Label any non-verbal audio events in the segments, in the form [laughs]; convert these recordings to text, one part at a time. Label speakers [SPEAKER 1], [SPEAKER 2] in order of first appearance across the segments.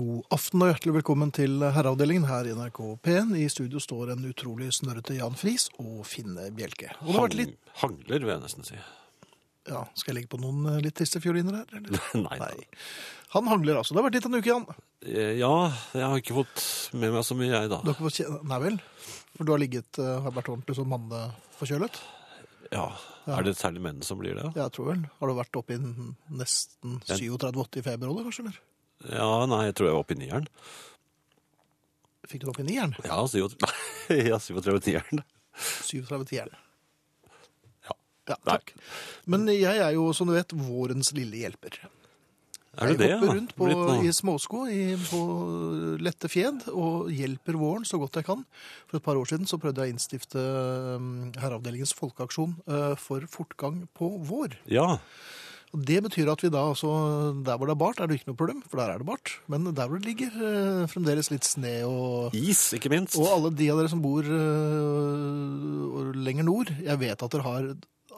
[SPEAKER 1] God aften og hjertelig velkommen til Herreavdelingen her i NRK P1. I studio står en utrolig snørrete Jan Friis og Finne Bjelke. Og det har vært litt
[SPEAKER 2] Hang- Hangler, vil jeg nesten si. [laughs]
[SPEAKER 1] Ja, skal jeg legge på noen eh, litt triste fioliner her? Eller?
[SPEAKER 2] Nei. da.
[SPEAKER 1] Nei. Han hangler altså. Det har vært litt av en uke, Jan. Du
[SPEAKER 2] Eh, Ja, jeg har ikke fått med meg så mye, jeg, da.
[SPEAKER 1] har ikke fått kjenne Nei vel? For du har ligget eh, har vært ordentlig som eh, manneforkjølet?
[SPEAKER 2] Ja. Er det særlig menn som blir det?
[SPEAKER 1] Jeg tror vel. Har du vært oppe i nesten 37-80 i feberolje, kanskje? eller?
[SPEAKER 2] Ja, nei, jeg tror jeg var oppe i nieren.
[SPEAKER 1] Fikk du det opp i nieren?
[SPEAKER 2] Ja, 37 [laughs] Nei, ja, 37 nieren.
[SPEAKER 1] 37 tieren.
[SPEAKER 2] Ja.
[SPEAKER 1] Ja, takk. Men jeg er jo, som du vet, vårens lille hjelper.
[SPEAKER 2] Er du det,
[SPEAKER 1] Jeg
[SPEAKER 2] ja?
[SPEAKER 1] hopper rundt på,
[SPEAKER 2] Blitt noe-
[SPEAKER 1] i småsko i, på lette fjed og hjelper våren så godt jeg kan. For et par år siden så prøvde jeg å innstifte mm, Herreavdelingens folkeaksjon eh, for fortgang på vår.
[SPEAKER 2] Ja.
[SPEAKER 1] Og Det betyr at vi da altså Der hvor det er bart, er det ikke noe problem, for der er det bart. Men der hvor det ligger eh, fremdeles litt sne og
[SPEAKER 2] Is, ikke minst.
[SPEAKER 1] og alle de av dere som bor øh, og lenger nord, jeg vet at dere, har,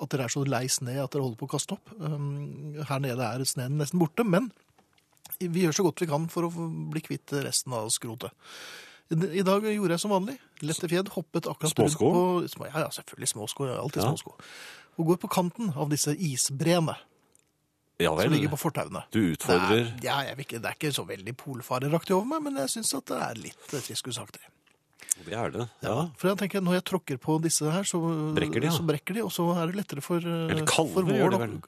[SPEAKER 1] at dere er så lei sne at dere holder på å kaste opp. Um, her nede er sneen nesten borte, men vi gjør så godt vi kan for å bli kvitt resten av skrotet. I i dag gjorde jeg som vanlig. Lette fjed, hoppet akkurat rundt
[SPEAKER 2] Småsko?
[SPEAKER 1] på- små- Ja, ja, selvfølgelig småsko. jeg har Alltid
[SPEAKER 2] Ja.
[SPEAKER 1] småsko. Og går på kanten av disse isbreene
[SPEAKER 2] Ja
[SPEAKER 1] som
[SPEAKER 2] vel.
[SPEAKER 1] ligger på fortauene.
[SPEAKER 2] Du utfordrer
[SPEAKER 1] Det er, ja, jeg vil ikke, det er ikke så veldig polfareraktig over meg, men jeg syns at det er litt eh, triskusaktig.
[SPEAKER 2] Det er det. Ja.
[SPEAKER 1] For jeg tenker, når jeg tråkker på disse her, så
[SPEAKER 2] Brekker de, ja.
[SPEAKER 1] så brekker de og så er det lettere for eh,
[SPEAKER 2] Eller
[SPEAKER 1] for
[SPEAKER 2] kalver
[SPEAKER 1] vår,
[SPEAKER 2] gjør det
[SPEAKER 1] da.
[SPEAKER 2] vel.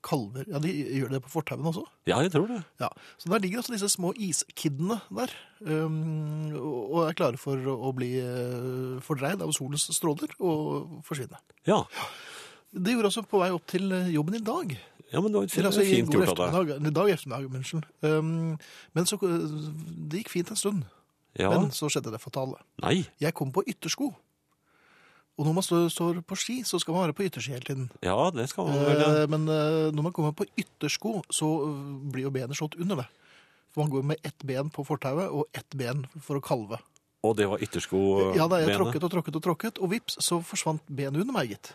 [SPEAKER 1] Kalver, ja, de gjør det på fortauene også.
[SPEAKER 2] Ja, jeg tror det.
[SPEAKER 1] Ja. Så der ligger altså disse små iskiddene der, um, og og er klare for å bli eh, fordreid av solens stråler og forsvinne.
[SPEAKER 2] Ja.
[SPEAKER 1] Det gjorde jeg også på vei opp til eh, jobben i dag.
[SPEAKER 2] ja men det var
[SPEAKER 1] Eller
[SPEAKER 2] fint,
[SPEAKER 1] altså i
[SPEAKER 2] fint
[SPEAKER 1] går
[SPEAKER 2] gjort av deg.
[SPEAKER 1] ettermiddag, eller i dag ettermiddag, unnskyld. Um, men så, eh, det gikk fint en stund,
[SPEAKER 2] Ja.
[SPEAKER 1] men så skjedde det fatale.
[SPEAKER 2] Nei.
[SPEAKER 1] Jeg kom på yttersko. Og når man står, står på ski, så skal man være på ytterski hele tiden.
[SPEAKER 2] Ja, det skal man vel. ja.
[SPEAKER 1] Eh, men eh, når man kommer på yttersko, så eh, blir jo benet slått under det. For man går med ett ben på fortauet og ett ben for å kalve.
[SPEAKER 2] Og det var yttersko
[SPEAKER 1] Ja, da, jeg
[SPEAKER 2] benet.
[SPEAKER 1] tråkket og tråkket og tråkket, og vips, så forsvant benet under meg, gitt.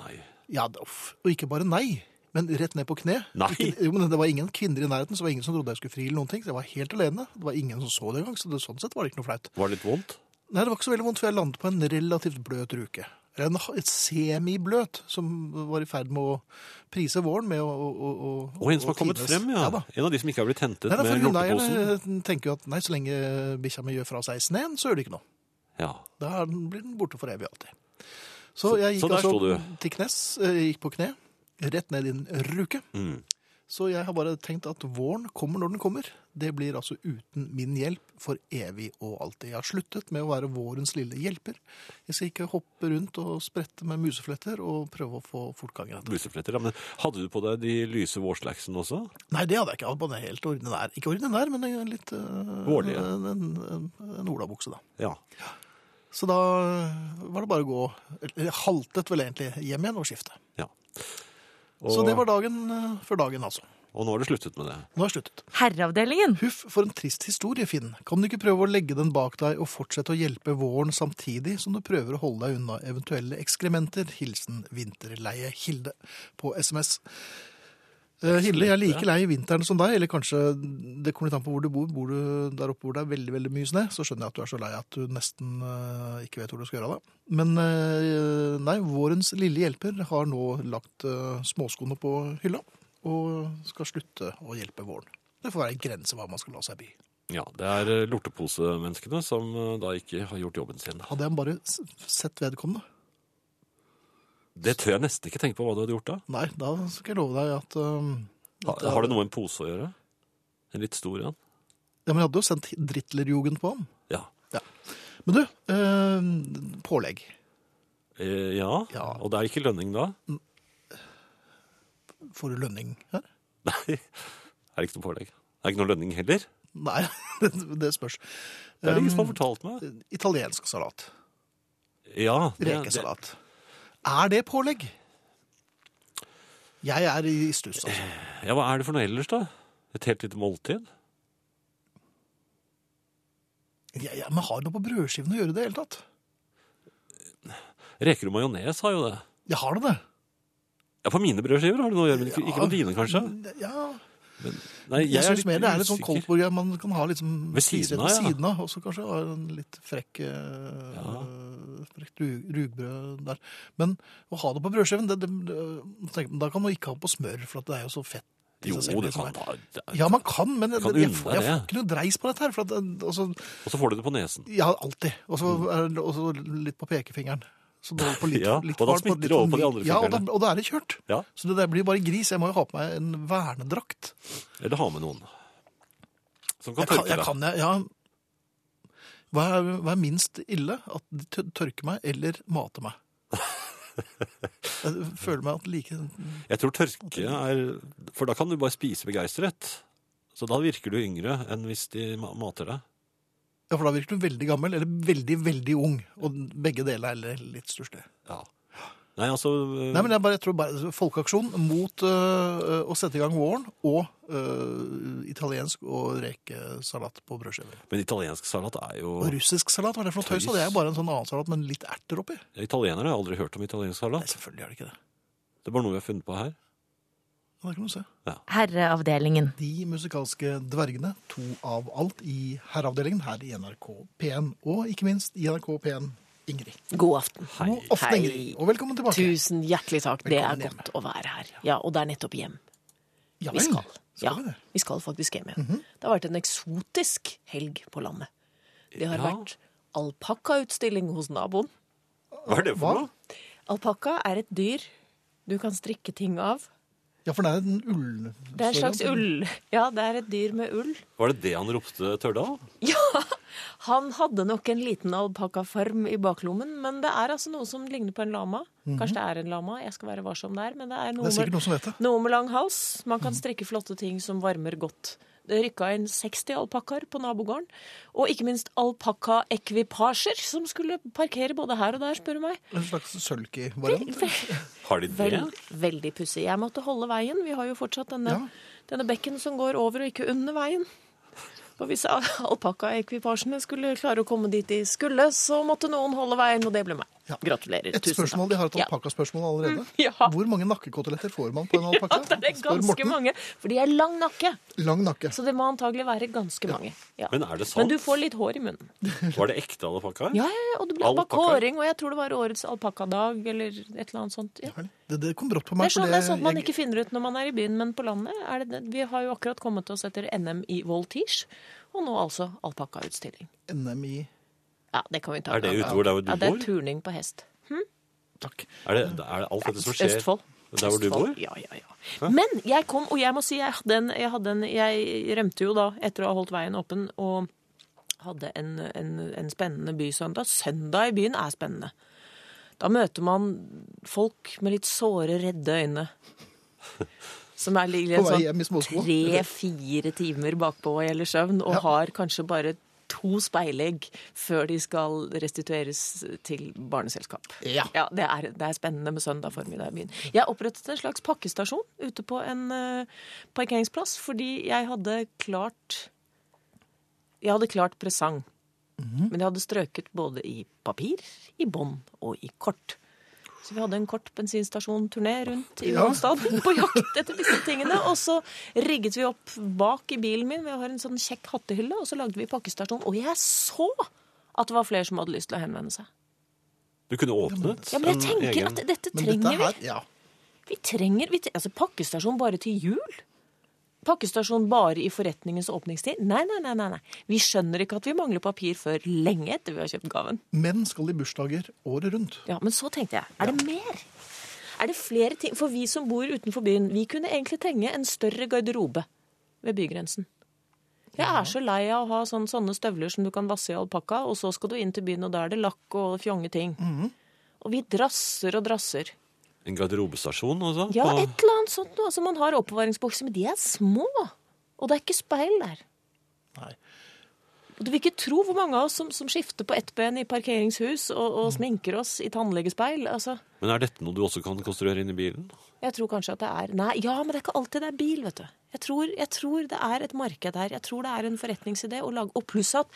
[SPEAKER 2] Nei.
[SPEAKER 1] Ja, da, uff. Og ikke bare nei, men rett ned på kne.
[SPEAKER 2] Nei.
[SPEAKER 1] Ikke, jo, men det var ingen kvinner i nærheten, så det var ingen som trodde jeg skulle fri eller noen ting. Så jeg var helt alene. Det var ingen som så det engang, så det, sånn sett var det ikke noe flaut.
[SPEAKER 2] Var det litt vondt?
[SPEAKER 1] Nei, det var ikke så veldig vondt, for jeg landet på en relativt bløt ruke. Eller en ha- et semibløt, som var i ferd med å prise våren med å Og,
[SPEAKER 2] Og en som har kommet frem, ja.
[SPEAKER 1] da.
[SPEAKER 2] En av de som ikke har blitt hentet
[SPEAKER 1] Nei, da, for
[SPEAKER 2] med lorteposen.
[SPEAKER 1] hundeeierne tenker jo eh, at nei, så lenge bikkja mi gjør fra seg sneen, så gjør det ikke noe.
[SPEAKER 2] Ja.
[SPEAKER 1] Da er den- blir den borte for evig alltid. Så jeg
[SPEAKER 2] så
[SPEAKER 1] gikk
[SPEAKER 2] der sto
[SPEAKER 1] altså
[SPEAKER 2] du.
[SPEAKER 1] til knes, eh, gikk på kne, rett ned i en ruke.
[SPEAKER 2] Mm.
[SPEAKER 1] Så jeg har bare tenkt at våren kommer når den kommer. Det blir altså uten min hjelp for evig og alltid. Jeg har sluttet med å være vårens lille hjelper. Jeg skal ikke hoppe rundt og sprette med musefletter og prøve å få fortgang i dette.
[SPEAKER 2] Musefletter, ja. Men hadde du på deg de lyse vårslacksene også?
[SPEAKER 1] Nei, det hadde jeg ikke. Jeg hadde bare en helt ordinær. Ikke ordinær, men en litt øh,
[SPEAKER 2] Vårlig, ja.
[SPEAKER 1] En, en, en, en olabukse, da.
[SPEAKER 2] Ja.
[SPEAKER 1] Så da var det bare å gå eller, Jeg haltet vel egentlig hjem igjen og skifte.
[SPEAKER 2] ja.
[SPEAKER 1] Så det var dagen øh, før dagen, altså.
[SPEAKER 2] og nå har du sluttet med det.
[SPEAKER 1] Nå har jeg sluttet.
[SPEAKER 3] Herreavdelingen.
[SPEAKER 1] Huff, for en trist historie, Finn. Kan du ikke prøve å legge den bak deg og fortsette å hjelpe våren samtidig som du prøver å holde deg unna eventuelle ekskrementer? Hilsen vinterleie Hilde på SMS. Eh, Hilde, jeg er like lei vinteren som deg, eller kanskje det kommer litt an på hvor du bor. Bor du der oppe hvor det er veldig veldig mye snø, så skjønner jeg at du er så lei at du nesten eh, ikke vet hvor du skal gjøre av deg. Men eh, nei, vårens lille hjelper har nå lagt eh, småskoene på hylla og skal slutte å hjelpe våren. Det får være en grense hva man skal la seg by.
[SPEAKER 2] Ja, Det er eh, lorteposemenneskene som eh, da ikke har gjort jobben sin.
[SPEAKER 1] Hadde jeg bare s- sett vedkommende?
[SPEAKER 2] Det tør jeg nesten ikke tenke på hva du hadde gjort da.
[SPEAKER 1] Nei, da skal jeg love deg at um,
[SPEAKER 2] Ha, har det noe med en pose å gjøre? En litt stor en?
[SPEAKER 1] Ja, men jeg hadde jo sendt drittlerjugend på ham.
[SPEAKER 2] Ja.
[SPEAKER 1] Men du, eh, pålegg.
[SPEAKER 2] Eh, ja.
[SPEAKER 1] Ja.
[SPEAKER 2] Og det er ikke lønning da? [laughs]
[SPEAKER 1] Får du lønning her?
[SPEAKER 2] Nei. Er det ikke noe pålegg? Det er ikke noe lønning heller?
[SPEAKER 1] Nei, [laughs] det, det spørs.
[SPEAKER 2] Det er det ingen som har
[SPEAKER 1] Um,
[SPEAKER 2] fortalt meg.
[SPEAKER 1] Italiensk salat.
[SPEAKER 2] Ja, det, det,
[SPEAKER 1] Rekesalat. Er det pålegg? Jeg er i stuss, altså.
[SPEAKER 2] ja, Hva er det for noe ellers, da? Et helt lite måltid?
[SPEAKER 1] Ja, ja, men har det noe på brødskiven å gjøre i det hele tatt?
[SPEAKER 2] Reker og majones har jo det.
[SPEAKER 1] Ja, har det det?
[SPEAKER 2] Ja, På mine brødskiver har det noe å gjøre, men ikke,
[SPEAKER 1] Ja.
[SPEAKER 2] ikke på dine, kanskje?
[SPEAKER 1] Ja,
[SPEAKER 2] Nei,
[SPEAKER 1] Jeg,
[SPEAKER 2] er
[SPEAKER 1] synes
[SPEAKER 2] litt
[SPEAKER 1] mer det er litt sånn
[SPEAKER 2] usikker.
[SPEAKER 1] koldtburger man kan ha liksom
[SPEAKER 2] Ved siden av,
[SPEAKER 1] ved
[SPEAKER 2] ja.
[SPEAKER 1] siden av, og så kanskje ha en litt frekk eh,
[SPEAKER 2] Ja.
[SPEAKER 1] frekt rug- rugbrød der. Men å ha det på brødskiven, det, det, det, tenk, da kan man ikke ha på smør, for at det er jo så fett. i
[SPEAKER 2] Jo,
[SPEAKER 1] seg selv,
[SPEAKER 2] det
[SPEAKER 1] liksom.
[SPEAKER 2] kan da. det-
[SPEAKER 1] Ja, man kan, men
[SPEAKER 2] Du kan
[SPEAKER 1] jeg, jeg,
[SPEAKER 2] unne
[SPEAKER 1] får-
[SPEAKER 2] deg
[SPEAKER 1] jeg får
[SPEAKER 2] det.
[SPEAKER 1] ikke noe dreis på dette her. For at, eh, altså,
[SPEAKER 2] Og så får du det på nesen.
[SPEAKER 1] ja, alltid. Og så er det også litt på pekefingeren. Så det holder på litt,
[SPEAKER 2] [laughs] Ja,
[SPEAKER 1] litt
[SPEAKER 2] og da
[SPEAKER 1] fart,
[SPEAKER 2] smitter
[SPEAKER 1] litt sånn
[SPEAKER 2] det over på de andre
[SPEAKER 1] Ja, og da,
[SPEAKER 2] fingrene.
[SPEAKER 1] og da er det kjørt.
[SPEAKER 2] Ja,
[SPEAKER 1] Så det der blir bare gris. Jeg må jo ha på meg en vernedrakt.
[SPEAKER 2] Eller ha med noen. Som kan
[SPEAKER 1] Jeg kan,
[SPEAKER 2] tørke
[SPEAKER 1] jeg
[SPEAKER 2] deg.
[SPEAKER 1] kan, jeg, ja. Hva er, hva er minst ille? At de tør- tørker meg eller mater
[SPEAKER 2] [laughs]
[SPEAKER 1] meg? Jeg føler meg at like
[SPEAKER 2] Jeg tror tørke er For da kan du bare spise begeistret. Så da virker du yngre enn hvis de ma- mater deg.
[SPEAKER 1] Ja, for da virker du veldig gammel eller veldig, veldig ung. Og begge deler er litt- litt stusslig.
[SPEAKER 2] Ja. Nei, altså
[SPEAKER 1] Nei, men jeg, bare, jeg tror bare Folkeaksjon mot øh, å sette i gang våren og øh, italiensk og rekesalat på brødskiver.
[SPEAKER 2] Men italiensk salat er jo
[SPEAKER 1] Og russisk salat, hva er det for noe tøys? da? Det er jo bare en sånn annen salat, men litt erter oppi.
[SPEAKER 2] Italienere har aldri hørt om italiensk
[SPEAKER 1] Nei,
[SPEAKER 2] salat.
[SPEAKER 1] selvfølgelig er det ikke det.
[SPEAKER 2] Det er bare noe vi har funnet på her.
[SPEAKER 1] Ja, Det kan du se.
[SPEAKER 3] Herreavdelingen.
[SPEAKER 1] De musikalske dvergene, to av alt, i herreavdelingen her i NRK P1. Og ikke minst i NRK P1, Ingrid.
[SPEAKER 4] God aften.
[SPEAKER 2] Hei.
[SPEAKER 1] God aften,
[SPEAKER 4] Hei.
[SPEAKER 1] Ingrid, og velkommen tilbake.
[SPEAKER 4] Tusen hjertelig takk. Det er
[SPEAKER 1] Velkommen hjem.
[SPEAKER 4] godt å være her. Ja, og det er nettopp hjem.
[SPEAKER 1] ja,
[SPEAKER 4] Vi
[SPEAKER 1] vel.
[SPEAKER 4] skal. Ja,
[SPEAKER 1] vi det? Mhm.
[SPEAKER 4] vi skal faktisk hjem igjen. Det har vært en eksotisk helg på landet. Det har
[SPEAKER 2] Ja.
[SPEAKER 4] vært alpakkautstilling hos naboen.
[SPEAKER 2] Hva er det for
[SPEAKER 1] Hva?
[SPEAKER 2] noe?
[SPEAKER 4] Alpakka er et dyr du kan strikke ting av.
[SPEAKER 1] Ja, for det er en ull...
[SPEAKER 4] Det er en slags ull. Ja, det er et dyr med ull.
[SPEAKER 2] Var det det han ropte Tørdal?
[SPEAKER 4] [laughs] Ja, han hadde nok en liten alpakkafarm i baklommen, men det er altså noe som ligner på en lama. Kanskje det er en lama, jeg skal være varsom der, men det er noe
[SPEAKER 1] Mhm. Det er sikkert
[SPEAKER 4] med
[SPEAKER 1] noen som vet det. Mhm.
[SPEAKER 4] Noe med lang hals. Man kan strekke flotte ting som varmer godt. Det rykka inn 60 alpakkaer på nabogården. Og ikke minst alpakkaekvipasjer som skulle parkere både her og der, spør du meg.
[SPEAKER 1] En slags sølki-variant.
[SPEAKER 2] Har de det?
[SPEAKER 4] Vel, veldig pussig. Jeg måtte holde veien. Vi har jo fortsatt denne,
[SPEAKER 1] Ja.
[SPEAKER 4] denne bekken som går over og ikke under veien. Og hvis alpakkaekvipasjene skulle klare å komme dit de skulle, så måtte noen holde veien, og det ble meg.
[SPEAKER 1] Ja.
[SPEAKER 4] Gratulerer.
[SPEAKER 1] Et spørsmål, de har et
[SPEAKER 4] Ja. Mm,
[SPEAKER 1] alpakkaspørsmål allerede.
[SPEAKER 4] Ja.
[SPEAKER 1] Hvor mange nakkekoteletter får man på en
[SPEAKER 4] [laughs] Ja,
[SPEAKER 1] alpakka?
[SPEAKER 4] det er
[SPEAKER 1] Spør
[SPEAKER 4] ganske
[SPEAKER 1] Morten.
[SPEAKER 4] mange. For de er lang nakke,
[SPEAKER 1] Lang nakke.
[SPEAKER 4] så det må antagelig være ganske mange. Ja.
[SPEAKER 2] Men er det
[SPEAKER 4] Men
[SPEAKER 2] sant?
[SPEAKER 4] du får litt hår i munnen.
[SPEAKER 2] Var det ekte alpakka?
[SPEAKER 4] Ja, ja, ja, og det ble
[SPEAKER 2] Alpakka.
[SPEAKER 4] alpakkåring, og jeg tror det var årets alpakkadag eller et eller annet sånt. Ja.
[SPEAKER 1] Det, det kom brått på
[SPEAKER 4] Det
[SPEAKER 1] meg.
[SPEAKER 4] er sånn, det er sånt man
[SPEAKER 1] jeg-
[SPEAKER 4] ikke finner ut når man er i byen, men på landet er det det. Vi har jo akkurat kommet oss etter NM i voltige, og nå altså alpakkautstilling.
[SPEAKER 1] NM i
[SPEAKER 4] Ja, det kan vi ta.
[SPEAKER 2] Er det
[SPEAKER 4] en annen
[SPEAKER 2] ute hvor det er hvor
[SPEAKER 4] gang.
[SPEAKER 2] du
[SPEAKER 4] Ja, det er
[SPEAKER 2] bor?
[SPEAKER 4] turning på hest.
[SPEAKER 1] Takk.
[SPEAKER 2] Er det, er det alt dette som skjer
[SPEAKER 4] Østfold.
[SPEAKER 2] der hvor du
[SPEAKER 4] Østfold.
[SPEAKER 2] bor?
[SPEAKER 4] Ja, ja, ja. Men jeg kom, og jeg må si, jeg, hadde en, jeg, hadde en, jeg rømte jo da etter å ha holdt veien åpen, og hadde en, en, en spennende bysøndag. Søndag i byen er spennende. Da møter man folk med litt såre, redde øyne. Som er ligger
[SPEAKER 1] På vei hjem i
[SPEAKER 4] sånn
[SPEAKER 1] småsko.
[SPEAKER 4] tre-fire timer bakpå og gjelder søvn, og har kanskje bare to speilegg før de skal restitueres til barneselskap.
[SPEAKER 1] Ja.
[SPEAKER 4] det, er, det er spennende med søndag formiddag i byen. Jeg opprettet en slags pakkestasjon ute på en eh, parkeringsplass, fordi jeg hadde klart Jeg hadde klart presang.
[SPEAKER 1] Mhm.
[SPEAKER 4] Men jeg hadde strøket både i papir, i bånd og i kort. Så vi hadde en kort bensinstasjonturné rundt i
[SPEAKER 1] Ja.
[SPEAKER 4] hovedstaden på jakt etter disse tingene. Og så rigget vi opp bak i bilen min, vi har en sånn kjekk hattehylle, og så lagde vi pakkestasjon. Og jeg så at det var flere som hadde lyst til å henvende seg.
[SPEAKER 2] Du kunne åpnet
[SPEAKER 4] Ja, men jeg
[SPEAKER 2] en
[SPEAKER 4] tenker
[SPEAKER 2] egen
[SPEAKER 4] at dette
[SPEAKER 1] Men dette
[SPEAKER 4] trenger vi.
[SPEAKER 1] her Ja.
[SPEAKER 4] Vi trenger vi, tre- altså pakkestasjon bare til jul? Pakkestasjon bare i forretningens åpningstid? Nei, nei, nei, nei. nei. Vi skjønner ikke at vi mangler papir før lenge etter vi har kjøpt gaven.
[SPEAKER 1] Menn skal i bursdager året rundt.
[SPEAKER 4] Ja, Men så tenkte jeg, er det mer? Er det flere ting? For vi som bor utenfor byen, vi kunne egentlig trenge en større garderobe ved bygrensen. Jeg er så lei av å ha sånne, sånne støvler som du kan vasse i alpakka, og så skal du inn til byen, og da er det lakk og fjonge ting. Og vi drasser og drasser.
[SPEAKER 2] En garderobestasjon og sånn?
[SPEAKER 4] Ja,
[SPEAKER 2] på-
[SPEAKER 4] et eller annet sånt noe. Altså, man har oppbevaringsbokser, men de er små. Og det er ikke speil der.
[SPEAKER 1] Nei.
[SPEAKER 4] Og Du vil ikke tro hvor mange av oss som, som skifter på ett ben i parkeringshus og, og sminker oss i tannlegespeil. Altså,
[SPEAKER 2] Men er dette noe du også kan konstruere inn i bilen?
[SPEAKER 4] jeg tror kanskje at det er Nei, ja, men det er ikke alltid det er bil, vet du. Jeg tror, jeg tror det er et marked her. Jeg tror det er en forretningsidé å lage Og pluss at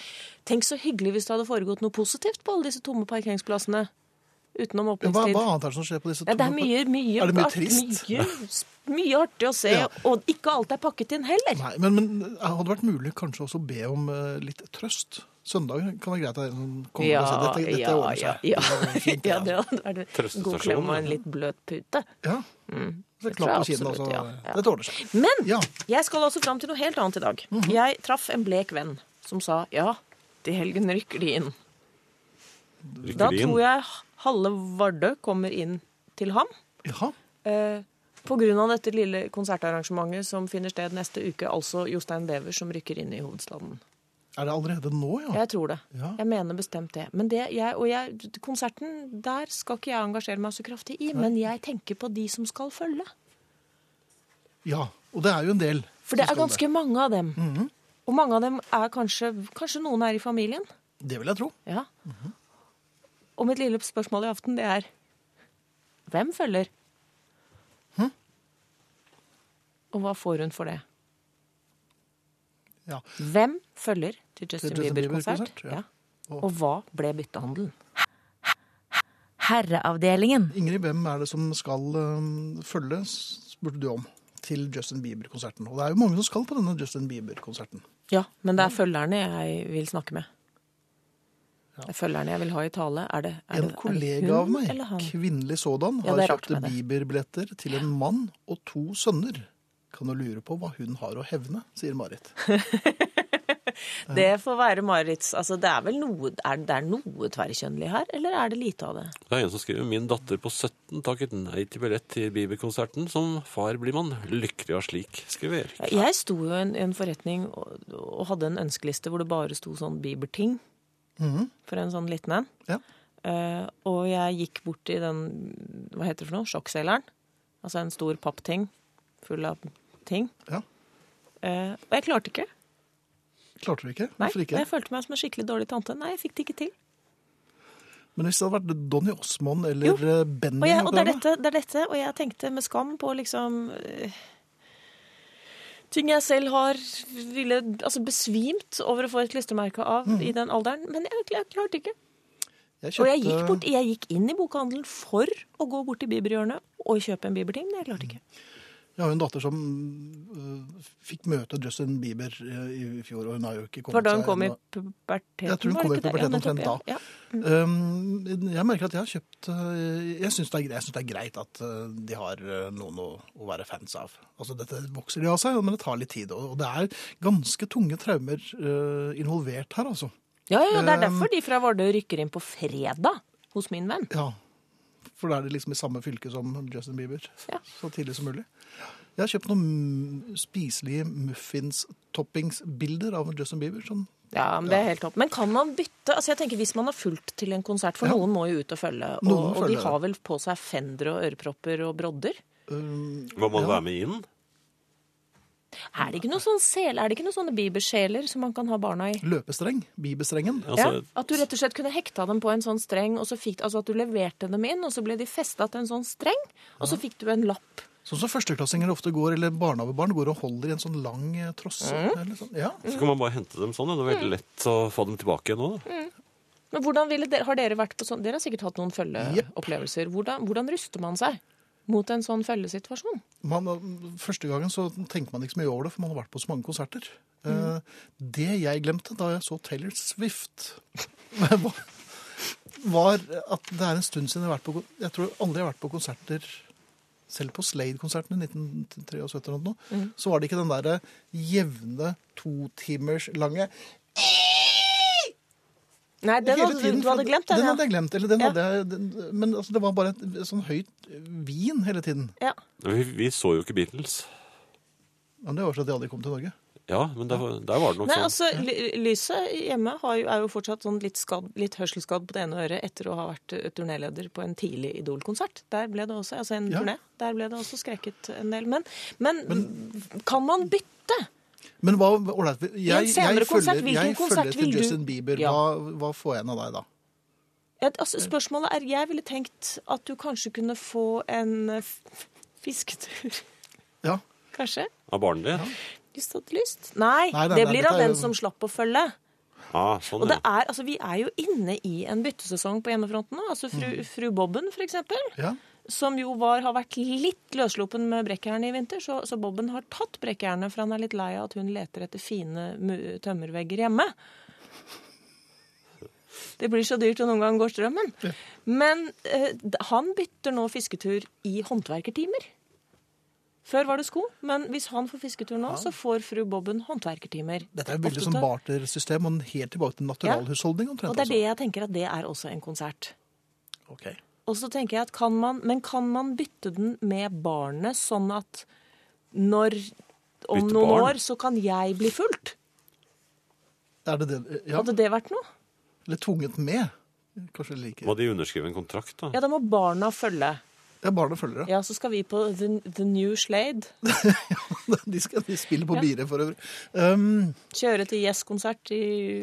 [SPEAKER 4] Tenk så hyggelig hvis det hadde foregått noe positivt på alle disse tomme parkeringsplassene. Utenom
[SPEAKER 1] Ja, Hva,
[SPEAKER 4] åpningstid.
[SPEAKER 1] hva annet er det som skjer på disse
[SPEAKER 4] Nei, det er
[SPEAKER 1] turene?
[SPEAKER 4] mye, mye,
[SPEAKER 1] Er det mye
[SPEAKER 4] art-
[SPEAKER 1] trist?
[SPEAKER 4] Mye,
[SPEAKER 1] [laughs]
[SPEAKER 4] mye artig å se,
[SPEAKER 1] Ja.
[SPEAKER 4] og ikke alt er pakket inn heller.
[SPEAKER 1] Nei, men, men det hadde vært mulig kanskje også å be om eh, litt trøst. Søndag kan være greit at noen kommer og sier dette, dette
[SPEAKER 4] ja,
[SPEAKER 1] ordner
[SPEAKER 4] ja,
[SPEAKER 1] seg.
[SPEAKER 4] ja.
[SPEAKER 1] Det er fint,
[SPEAKER 4] [laughs] ja,
[SPEAKER 1] det,
[SPEAKER 4] det hadde vært en god
[SPEAKER 2] Trøstestasjon,
[SPEAKER 4] klem og en
[SPEAKER 2] ja.
[SPEAKER 4] litt bløt pute.
[SPEAKER 1] ja. Så
[SPEAKER 4] Mm. det tror
[SPEAKER 1] klapp på
[SPEAKER 4] jeg
[SPEAKER 1] kinnet, altså.
[SPEAKER 4] absolutt, ja. Ja.
[SPEAKER 1] Dette ordner seg.
[SPEAKER 4] Men
[SPEAKER 1] Ja. Mhm.
[SPEAKER 4] jeg skal altså fram til noe helt annet i dag. Jeg traff en blek venn som sa ja, til helgen rykker de inn. Da
[SPEAKER 2] Rykker de inn?
[SPEAKER 4] tror jeg halve Vardø kommer inn til ham.
[SPEAKER 1] Jaha.
[SPEAKER 4] Eh, på grunn av dette lille konsertarrangementet som finner sted neste uke, altså Jostein Bever som rykker inn i hovedstaden.
[SPEAKER 1] Er det allerede nå, ja?
[SPEAKER 4] Jeg tror det.
[SPEAKER 1] Ja.
[SPEAKER 4] Jeg mener bestemt det. Men det jeg, og jeg, konserten der skal ikke jeg engasjere meg så kraftig i, men jeg tenker på de som skal følge.
[SPEAKER 1] Ja. Og det er jo en del.
[SPEAKER 4] For det
[SPEAKER 1] som
[SPEAKER 4] er
[SPEAKER 1] skal Mhm.
[SPEAKER 4] ganske mange av dem. Og mange av dem er kanskje Kanskje noen er i familien.
[SPEAKER 1] det. Det vil jeg tro.
[SPEAKER 4] Ja.
[SPEAKER 1] Mhm.
[SPEAKER 4] Og mitt lille spørsmål i aften, det er Hvem følger?
[SPEAKER 1] Hm?
[SPEAKER 4] Og hva får hun for det?
[SPEAKER 1] Ja.
[SPEAKER 4] Hvem følger til Justin,
[SPEAKER 1] Til Justin
[SPEAKER 4] Bieber-konsert?
[SPEAKER 1] Bieber-konsert, ja.
[SPEAKER 4] ja. Og hva ble byttehandelen?
[SPEAKER 3] Herreavdelingen.
[SPEAKER 1] Ingrid, hvem er det som skal øhm, følge, spurte du om, til Justin Bieber-konserten. Og det er jo mange som skal på denne Justin Bieber-konserten.
[SPEAKER 4] Ja, men det er følgerne jeg vil snakke med. Det er følgerne jeg vil ha i tale. Er det, er det, er
[SPEAKER 1] En
[SPEAKER 4] det hun
[SPEAKER 1] kollega av meg,
[SPEAKER 4] eller han?
[SPEAKER 1] kvinnelig sådan,
[SPEAKER 4] Ja,
[SPEAKER 1] har
[SPEAKER 4] det er rart
[SPEAKER 1] kjøpt
[SPEAKER 4] med det.
[SPEAKER 1] Bieber-billetter til en mann og to sønner. Kan du lure på hva hun har å hevne, sier Marit.
[SPEAKER 4] Det får være Marits. Altså, det er vel noe, er det er noe tverrkjønnlig her, eller er det lite av det?
[SPEAKER 2] Det er en som skriver min datter på 17 takket nei til billett til Bieber-konserten. Som far blir man lykkelig av slik, skriver Erik.
[SPEAKER 4] Jeg sto jo i en, en forretning og, og hadde en ønskeliste hvor det bare sto sånn Bieber-ting.
[SPEAKER 1] Mhm.
[SPEAKER 4] For en sånn liten en.
[SPEAKER 1] Ja.
[SPEAKER 4] Eh, og jeg gikk bort i den, hva heter det for noe, sjokkselgeren. Altså en stor pappting full av ting.
[SPEAKER 1] ja.
[SPEAKER 4] Eh, og jeg klarte ikke.
[SPEAKER 1] Klarte du ikke?
[SPEAKER 4] Nei,
[SPEAKER 1] Hvorfor
[SPEAKER 4] og
[SPEAKER 1] ikke?
[SPEAKER 4] jeg følte meg som en skikkelig dårlig tante. Nei, jeg fikk det ikke til.
[SPEAKER 1] Men hvis det hadde vært Donny Osmond
[SPEAKER 4] Jo.
[SPEAKER 1] eller eh, Benny
[SPEAKER 4] Og, jeg,
[SPEAKER 1] på
[SPEAKER 4] og det, er
[SPEAKER 1] programmet?
[SPEAKER 4] dette, det er dette, og jeg tenkte med skam på liksom eh, Ting jeg selv har ville, altså besvimt over å få et klistremerke av
[SPEAKER 1] Mm.
[SPEAKER 4] i den alderen. Men jeg, jeg klarte ikke.
[SPEAKER 1] Jeg
[SPEAKER 4] Og jeg gikk,
[SPEAKER 1] kjøpte-
[SPEAKER 4] bort, jeg gikk inn i bokhandelen for å gå bort til Bieberhjørnet og kjøpe en Bieberting, men jeg klarte ikke.
[SPEAKER 1] Jeg har jo en datter som øh, fikk møte Justin Bieber øh, i fjor, og hun har jo ikke
[SPEAKER 4] Det var
[SPEAKER 1] kommet
[SPEAKER 4] da hun kom i
[SPEAKER 1] ennå.
[SPEAKER 4] puberteten.
[SPEAKER 1] Jeg tror hun
[SPEAKER 4] var det
[SPEAKER 1] kom i
[SPEAKER 4] ikke det?
[SPEAKER 1] puberteten
[SPEAKER 4] nettopp,
[SPEAKER 1] omtrent da.
[SPEAKER 4] Ja, ja.
[SPEAKER 1] Um, jeg merker at jeg har kjøpt øh, Jeg syns det, er gre- jeg synes det er greit at øh, de har øh, noen å, å være fans av. Altså, dette vokser de av seg, men det tar litt tid. Og og det er ganske tunge traumer øh, involvert her, altså.
[SPEAKER 4] Ja, ja, det er
[SPEAKER 1] Um,
[SPEAKER 4] derfor de fra Vardø rykker inn på fredag hos min venn.
[SPEAKER 1] Ja. For da er det liksom i samme fylke som Justin Bieber.
[SPEAKER 4] Ja.
[SPEAKER 1] Så tidlig som mulig. Jeg har kjøpt noen mm, spiselige muffins-toppingsbilder av Justin Bieber. Sånn
[SPEAKER 4] Ja, men det er helt topp. Men kan man bytte? Altså jeg tenker Hvis man har fulgt til en konsert, for
[SPEAKER 1] Ja.
[SPEAKER 4] noen må jo ut og følge, og,
[SPEAKER 1] Noen
[SPEAKER 4] og de
[SPEAKER 1] følger.
[SPEAKER 4] har vel på seg fendere og ørepropper og brodder.
[SPEAKER 2] Må man være med inn?
[SPEAKER 4] Er det ikke noen sånn sel, er det ikke noen sånne bibersjeler som man kan ha barna i?
[SPEAKER 1] løpestreng, bibestrengen.
[SPEAKER 2] Altså,
[SPEAKER 4] ja, at du rett og slett kunne hekta dem på en sånn streng, og så fikk, altså at du leverte dem inn, og så ble de festa til en sånn streng, og så fikk du en lapp.
[SPEAKER 1] Sånn som førsteklassinger ofte går, eller barnehagebarn går og holder i en sånn lang eh, trosse. Eller sånn. ja.
[SPEAKER 2] Så kan man bare hente dem sånn. ja. Det er
[SPEAKER 4] Mm.
[SPEAKER 2] veldig lett å få dem tilbake igjen nå. da.
[SPEAKER 4] Men hvordan ville dere, har Dere vært på sånn, dere har sikkert hatt noen følgeopplevelser. Hvordan, hvordan ruster man seg mot en sånn følgesituasjon?
[SPEAKER 1] man, eh, første gangen så tenker man ikke så mye over det, for man har vært på så mange konserter. Eh, Det jeg glemte da jeg så Taylor Swift, [laughs] var, var at det er en stund siden jeg har vært på kon- Jeg tror aldri jeg har vært på konserter selv på Slade-konserten i 1973 eller noe, så var det ikke den derre jevne to timers lange
[SPEAKER 4] Nei, den
[SPEAKER 1] hele
[SPEAKER 4] hadde,
[SPEAKER 1] tiden,
[SPEAKER 4] du hadde
[SPEAKER 1] for
[SPEAKER 4] glemt den,
[SPEAKER 1] den
[SPEAKER 4] ja.
[SPEAKER 1] hadde jeg glemt. Eller den
[SPEAKER 4] Ja.
[SPEAKER 1] hadde jeg, den, men altså, det var bare et sånn høyt vin hele tiden.
[SPEAKER 4] ja.
[SPEAKER 2] Vi, vi så jo ikke Beatles.
[SPEAKER 1] Men det var så at jeg aldri kom til Norge.
[SPEAKER 2] Ja, men der, der var det nok
[SPEAKER 4] Nei,
[SPEAKER 2] sånn.
[SPEAKER 4] altså, ly- lyset hjemme har jo, er jo fortsatt sånn litt, skadd, litt hørselsskadd på det ene øret etter å ha vært eh, turnéleder på en tidlig Idol-konsert. Der ble det også, altså en
[SPEAKER 1] Ja.
[SPEAKER 4] turné, der ble det også skrekket en del. Men, men, kan man bytte?
[SPEAKER 1] Men hva, ålreit, jeg,
[SPEAKER 4] en
[SPEAKER 1] jeg,
[SPEAKER 4] senere konsert,
[SPEAKER 1] følger,
[SPEAKER 4] hvilken
[SPEAKER 1] jeg
[SPEAKER 4] konsert
[SPEAKER 1] følger
[SPEAKER 4] vil
[SPEAKER 1] til
[SPEAKER 4] du-
[SPEAKER 1] Justin Bieber.
[SPEAKER 4] Ja.
[SPEAKER 1] Hva, hva får jeg en av deg da?
[SPEAKER 4] Et, altså, spørsmålet er, jeg ville tenkt at du kanskje kunne få en eh, f- fisketur, [laughs]
[SPEAKER 1] Ja,
[SPEAKER 4] kanskje?
[SPEAKER 2] Av barnet ditt.
[SPEAKER 4] Lyst hadde lyst?
[SPEAKER 1] Nei,
[SPEAKER 4] Nei,
[SPEAKER 1] nei,
[SPEAKER 4] det
[SPEAKER 1] nei,
[SPEAKER 4] blir
[SPEAKER 1] dette
[SPEAKER 4] av
[SPEAKER 1] er
[SPEAKER 4] den
[SPEAKER 1] jo-
[SPEAKER 4] som slapp å følge.
[SPEAKER 2] Ah, sånn,
[SPEAKER 4] Og det
[SPEAKER 2] ja.
[SPEAKER 4] er, altså, vi er jo inne i en byttesesong på hjemmefronten nå. Altså fru,
[SPEAKER 1] Mm.
[SPEAKER 4] fru Bobben, for eksempel,
[SPEAKER 1] Ja.
[SPEAKER 4] som jo var, har vært litt løssluppen med brekkjernet i vinter. Så, så Bobben har tatt brekkjernet, for han er litt lei av at hun leter etter fine mu- tømmervegger hjemme. Det blir så dyrt, og noen ganger går strømmen. Men eh, d- han bytter nå fisketur i håndverkertimer. Før var det sko, men hvis han får fisketur nå, så får fru Bobben håndverkertimer.
[SPEAKER 1] Dette er jo veldig
[SPEAKER 4] Åtte
[SPEAKER 1] sånn
[SPEAKER 4] til-
[SPEAKER 1] bartersystem, og helt tilbake til naturalhusholdning omtrent.
[SPEAKER 4] og det er det jeg tenker at det er også en konsert.
[SPEAKER 1] altså. Ok.
[SPEAKER 4] Og så tenker jeg at kan man, Men kan man bytte den med barnet, sånn at når om
[SPEAKER 2] Bytte
[SPEAKER 4] noen
[SPEAKER 2] barn?
[SPEAKER 4] år så kan jeg bli fulgt?
[SPEAKER 1] Er det det? Ja.
[SPEAKER 4] Hadde det vært noe?
[SPEAKER 1] Eller tvunget med. Kanskje like.
[SPEAKER 2] Må de underskrive en kontrakt, da?
[SPEAKER 4] Ja, da må barna følge.
[SPEAKER 1] Ja, barna følger det.
[SPEAKER 4] Ja, så skal vi på The, the New Slade.
[SPEAKER 1] [laughs] De, skal, de spiller på
[SPEAKER 4] Ja.
[SPEAKER 1] Bire for øvrig. Um,
[SPEAKER 4] Kjøre til Yes-konsert i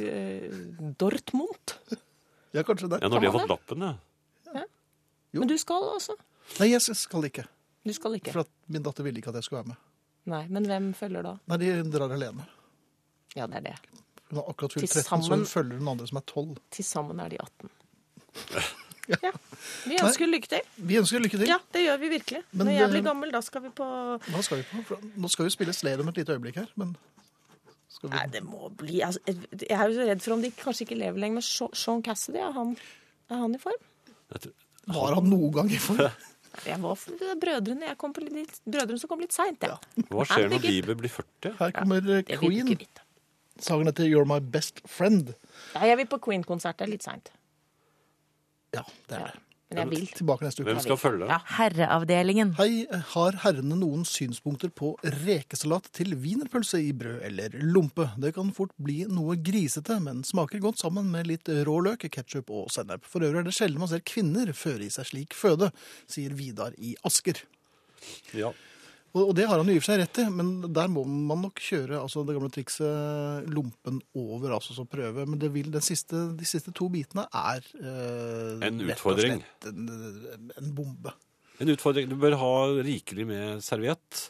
[SPEAKER 4] eh, Dortmund.
[SPEAKER 1] ja, kanskje det.
[SPEAKER 2] Ja, Når de har
[SPEAKER 4] Kan
[SPEAKER 2] fått lappen, ja.
[SPEAKER 1] Jo.
[SPEAKER 4] Men du skal altså.
[SPEAKER 1] Nei, jeg skal ikke.
[SPEAKER 4] Du skal ikke.
[SPEAKER 1] For at min datter ville ikke at jeg skulle være med.
[SPEAKER 4] Nei, Men hvem følger da?
[SPEAKER 1] Nei, de drar alene.
[SPEAKER 4] Ja, det er det.
[SPEAKER 1] Hun har akkurat fylt 13, så
[SPEAKER 4] Til sammen-
[SPEAKER 1] hun følger den andre som er 12.
[SPEAKER 4] Til sammen er de 18. Ja. Vi ønsker lykke til.
[SPEAKER 1] Vi ønsker lykke til.
[SPEAKER 4] Ja, det gjør vi virkelig.
[SPEAKER 1] Men
[SPEAKER 4] Når jeg
[SPEAKER 1] det-
[SPEAKER 4] blir gammel, da skal vi på
[SPEAKER 1] Hva skal vi på? For Nå skal vi spille Slade om et lite øyeblikk her, men skal vi...
[SPEAKER 4] Nei, det må bli altså, Jeg er jo så redd for om de kanskje ikke lever lenger, men Sha- Sean Cassidy, er han, er han i form?
[SPEAKER 2] Jeg tror-
[SPEAKER 1] Var han noen gang i form?
[SPEAKER 4] Nei, Jeg var for det er brødrene, jeg kom på litt, brødrene som kom litt seint, jeg.
[SPEAKER 2] Hva
[SPEAKER 4] Nei,
[SPEAKER 2] skjer
[SPEAKER 4] det
[SPEAKER 2] når
[SPEAKER 4] blir-
[SPEAKER 2] livet blir 40?
[SPEAKER 1] Her kommer eh,
[SPEAKER 4] Jeg vil
[SPEAKER 1] Queen.
[SPEAKER 4] ikke vite.
[SPEAKER 1] Sangen heter You're My Best Friend.
[SPEAKER 4] Nei, jeg vil på Queen-konsert. Det er litt seint.
[SPEAKER 1] Ja, det er det.
[SPEAKER 4] Men jeg vil.
[SPEAKER 1] Tilbake neste uke.
[SPEAKER 2] Hvem skal følge?
[SPEAKER 4] Ja.
[SPEAKER 3] Herreavdelingen.
[SPEAKER 1] Hei, har herrene noen synspunkter på rekesalat til wienerpølse i brød eller lompe? Det kan fort bli noe grisete, men smaker godt sammen med litt rå løk, ketsjup og sennep. For øvrig er det sjelden man ser kvinner føre i seg slik føde, sier Vidar i Asker.
[SPEAKER 2] Ja.
[SPEAKER 1] Og, og det har han jo i og for seg rett i, men der må man nok kjøre altså det gamle trikset lompen over, altså så prøve. Men det vil, den siste, de siste to bitene er eh,
[SPEAKER 2] En
[SPEAKER 1] rett og
[SPEAKER 2] utfordring.
[SPEAKER 1] slett En, en bombe.
[SPEAKER 2] En utfordring. Du bør ha rikelig med serviett.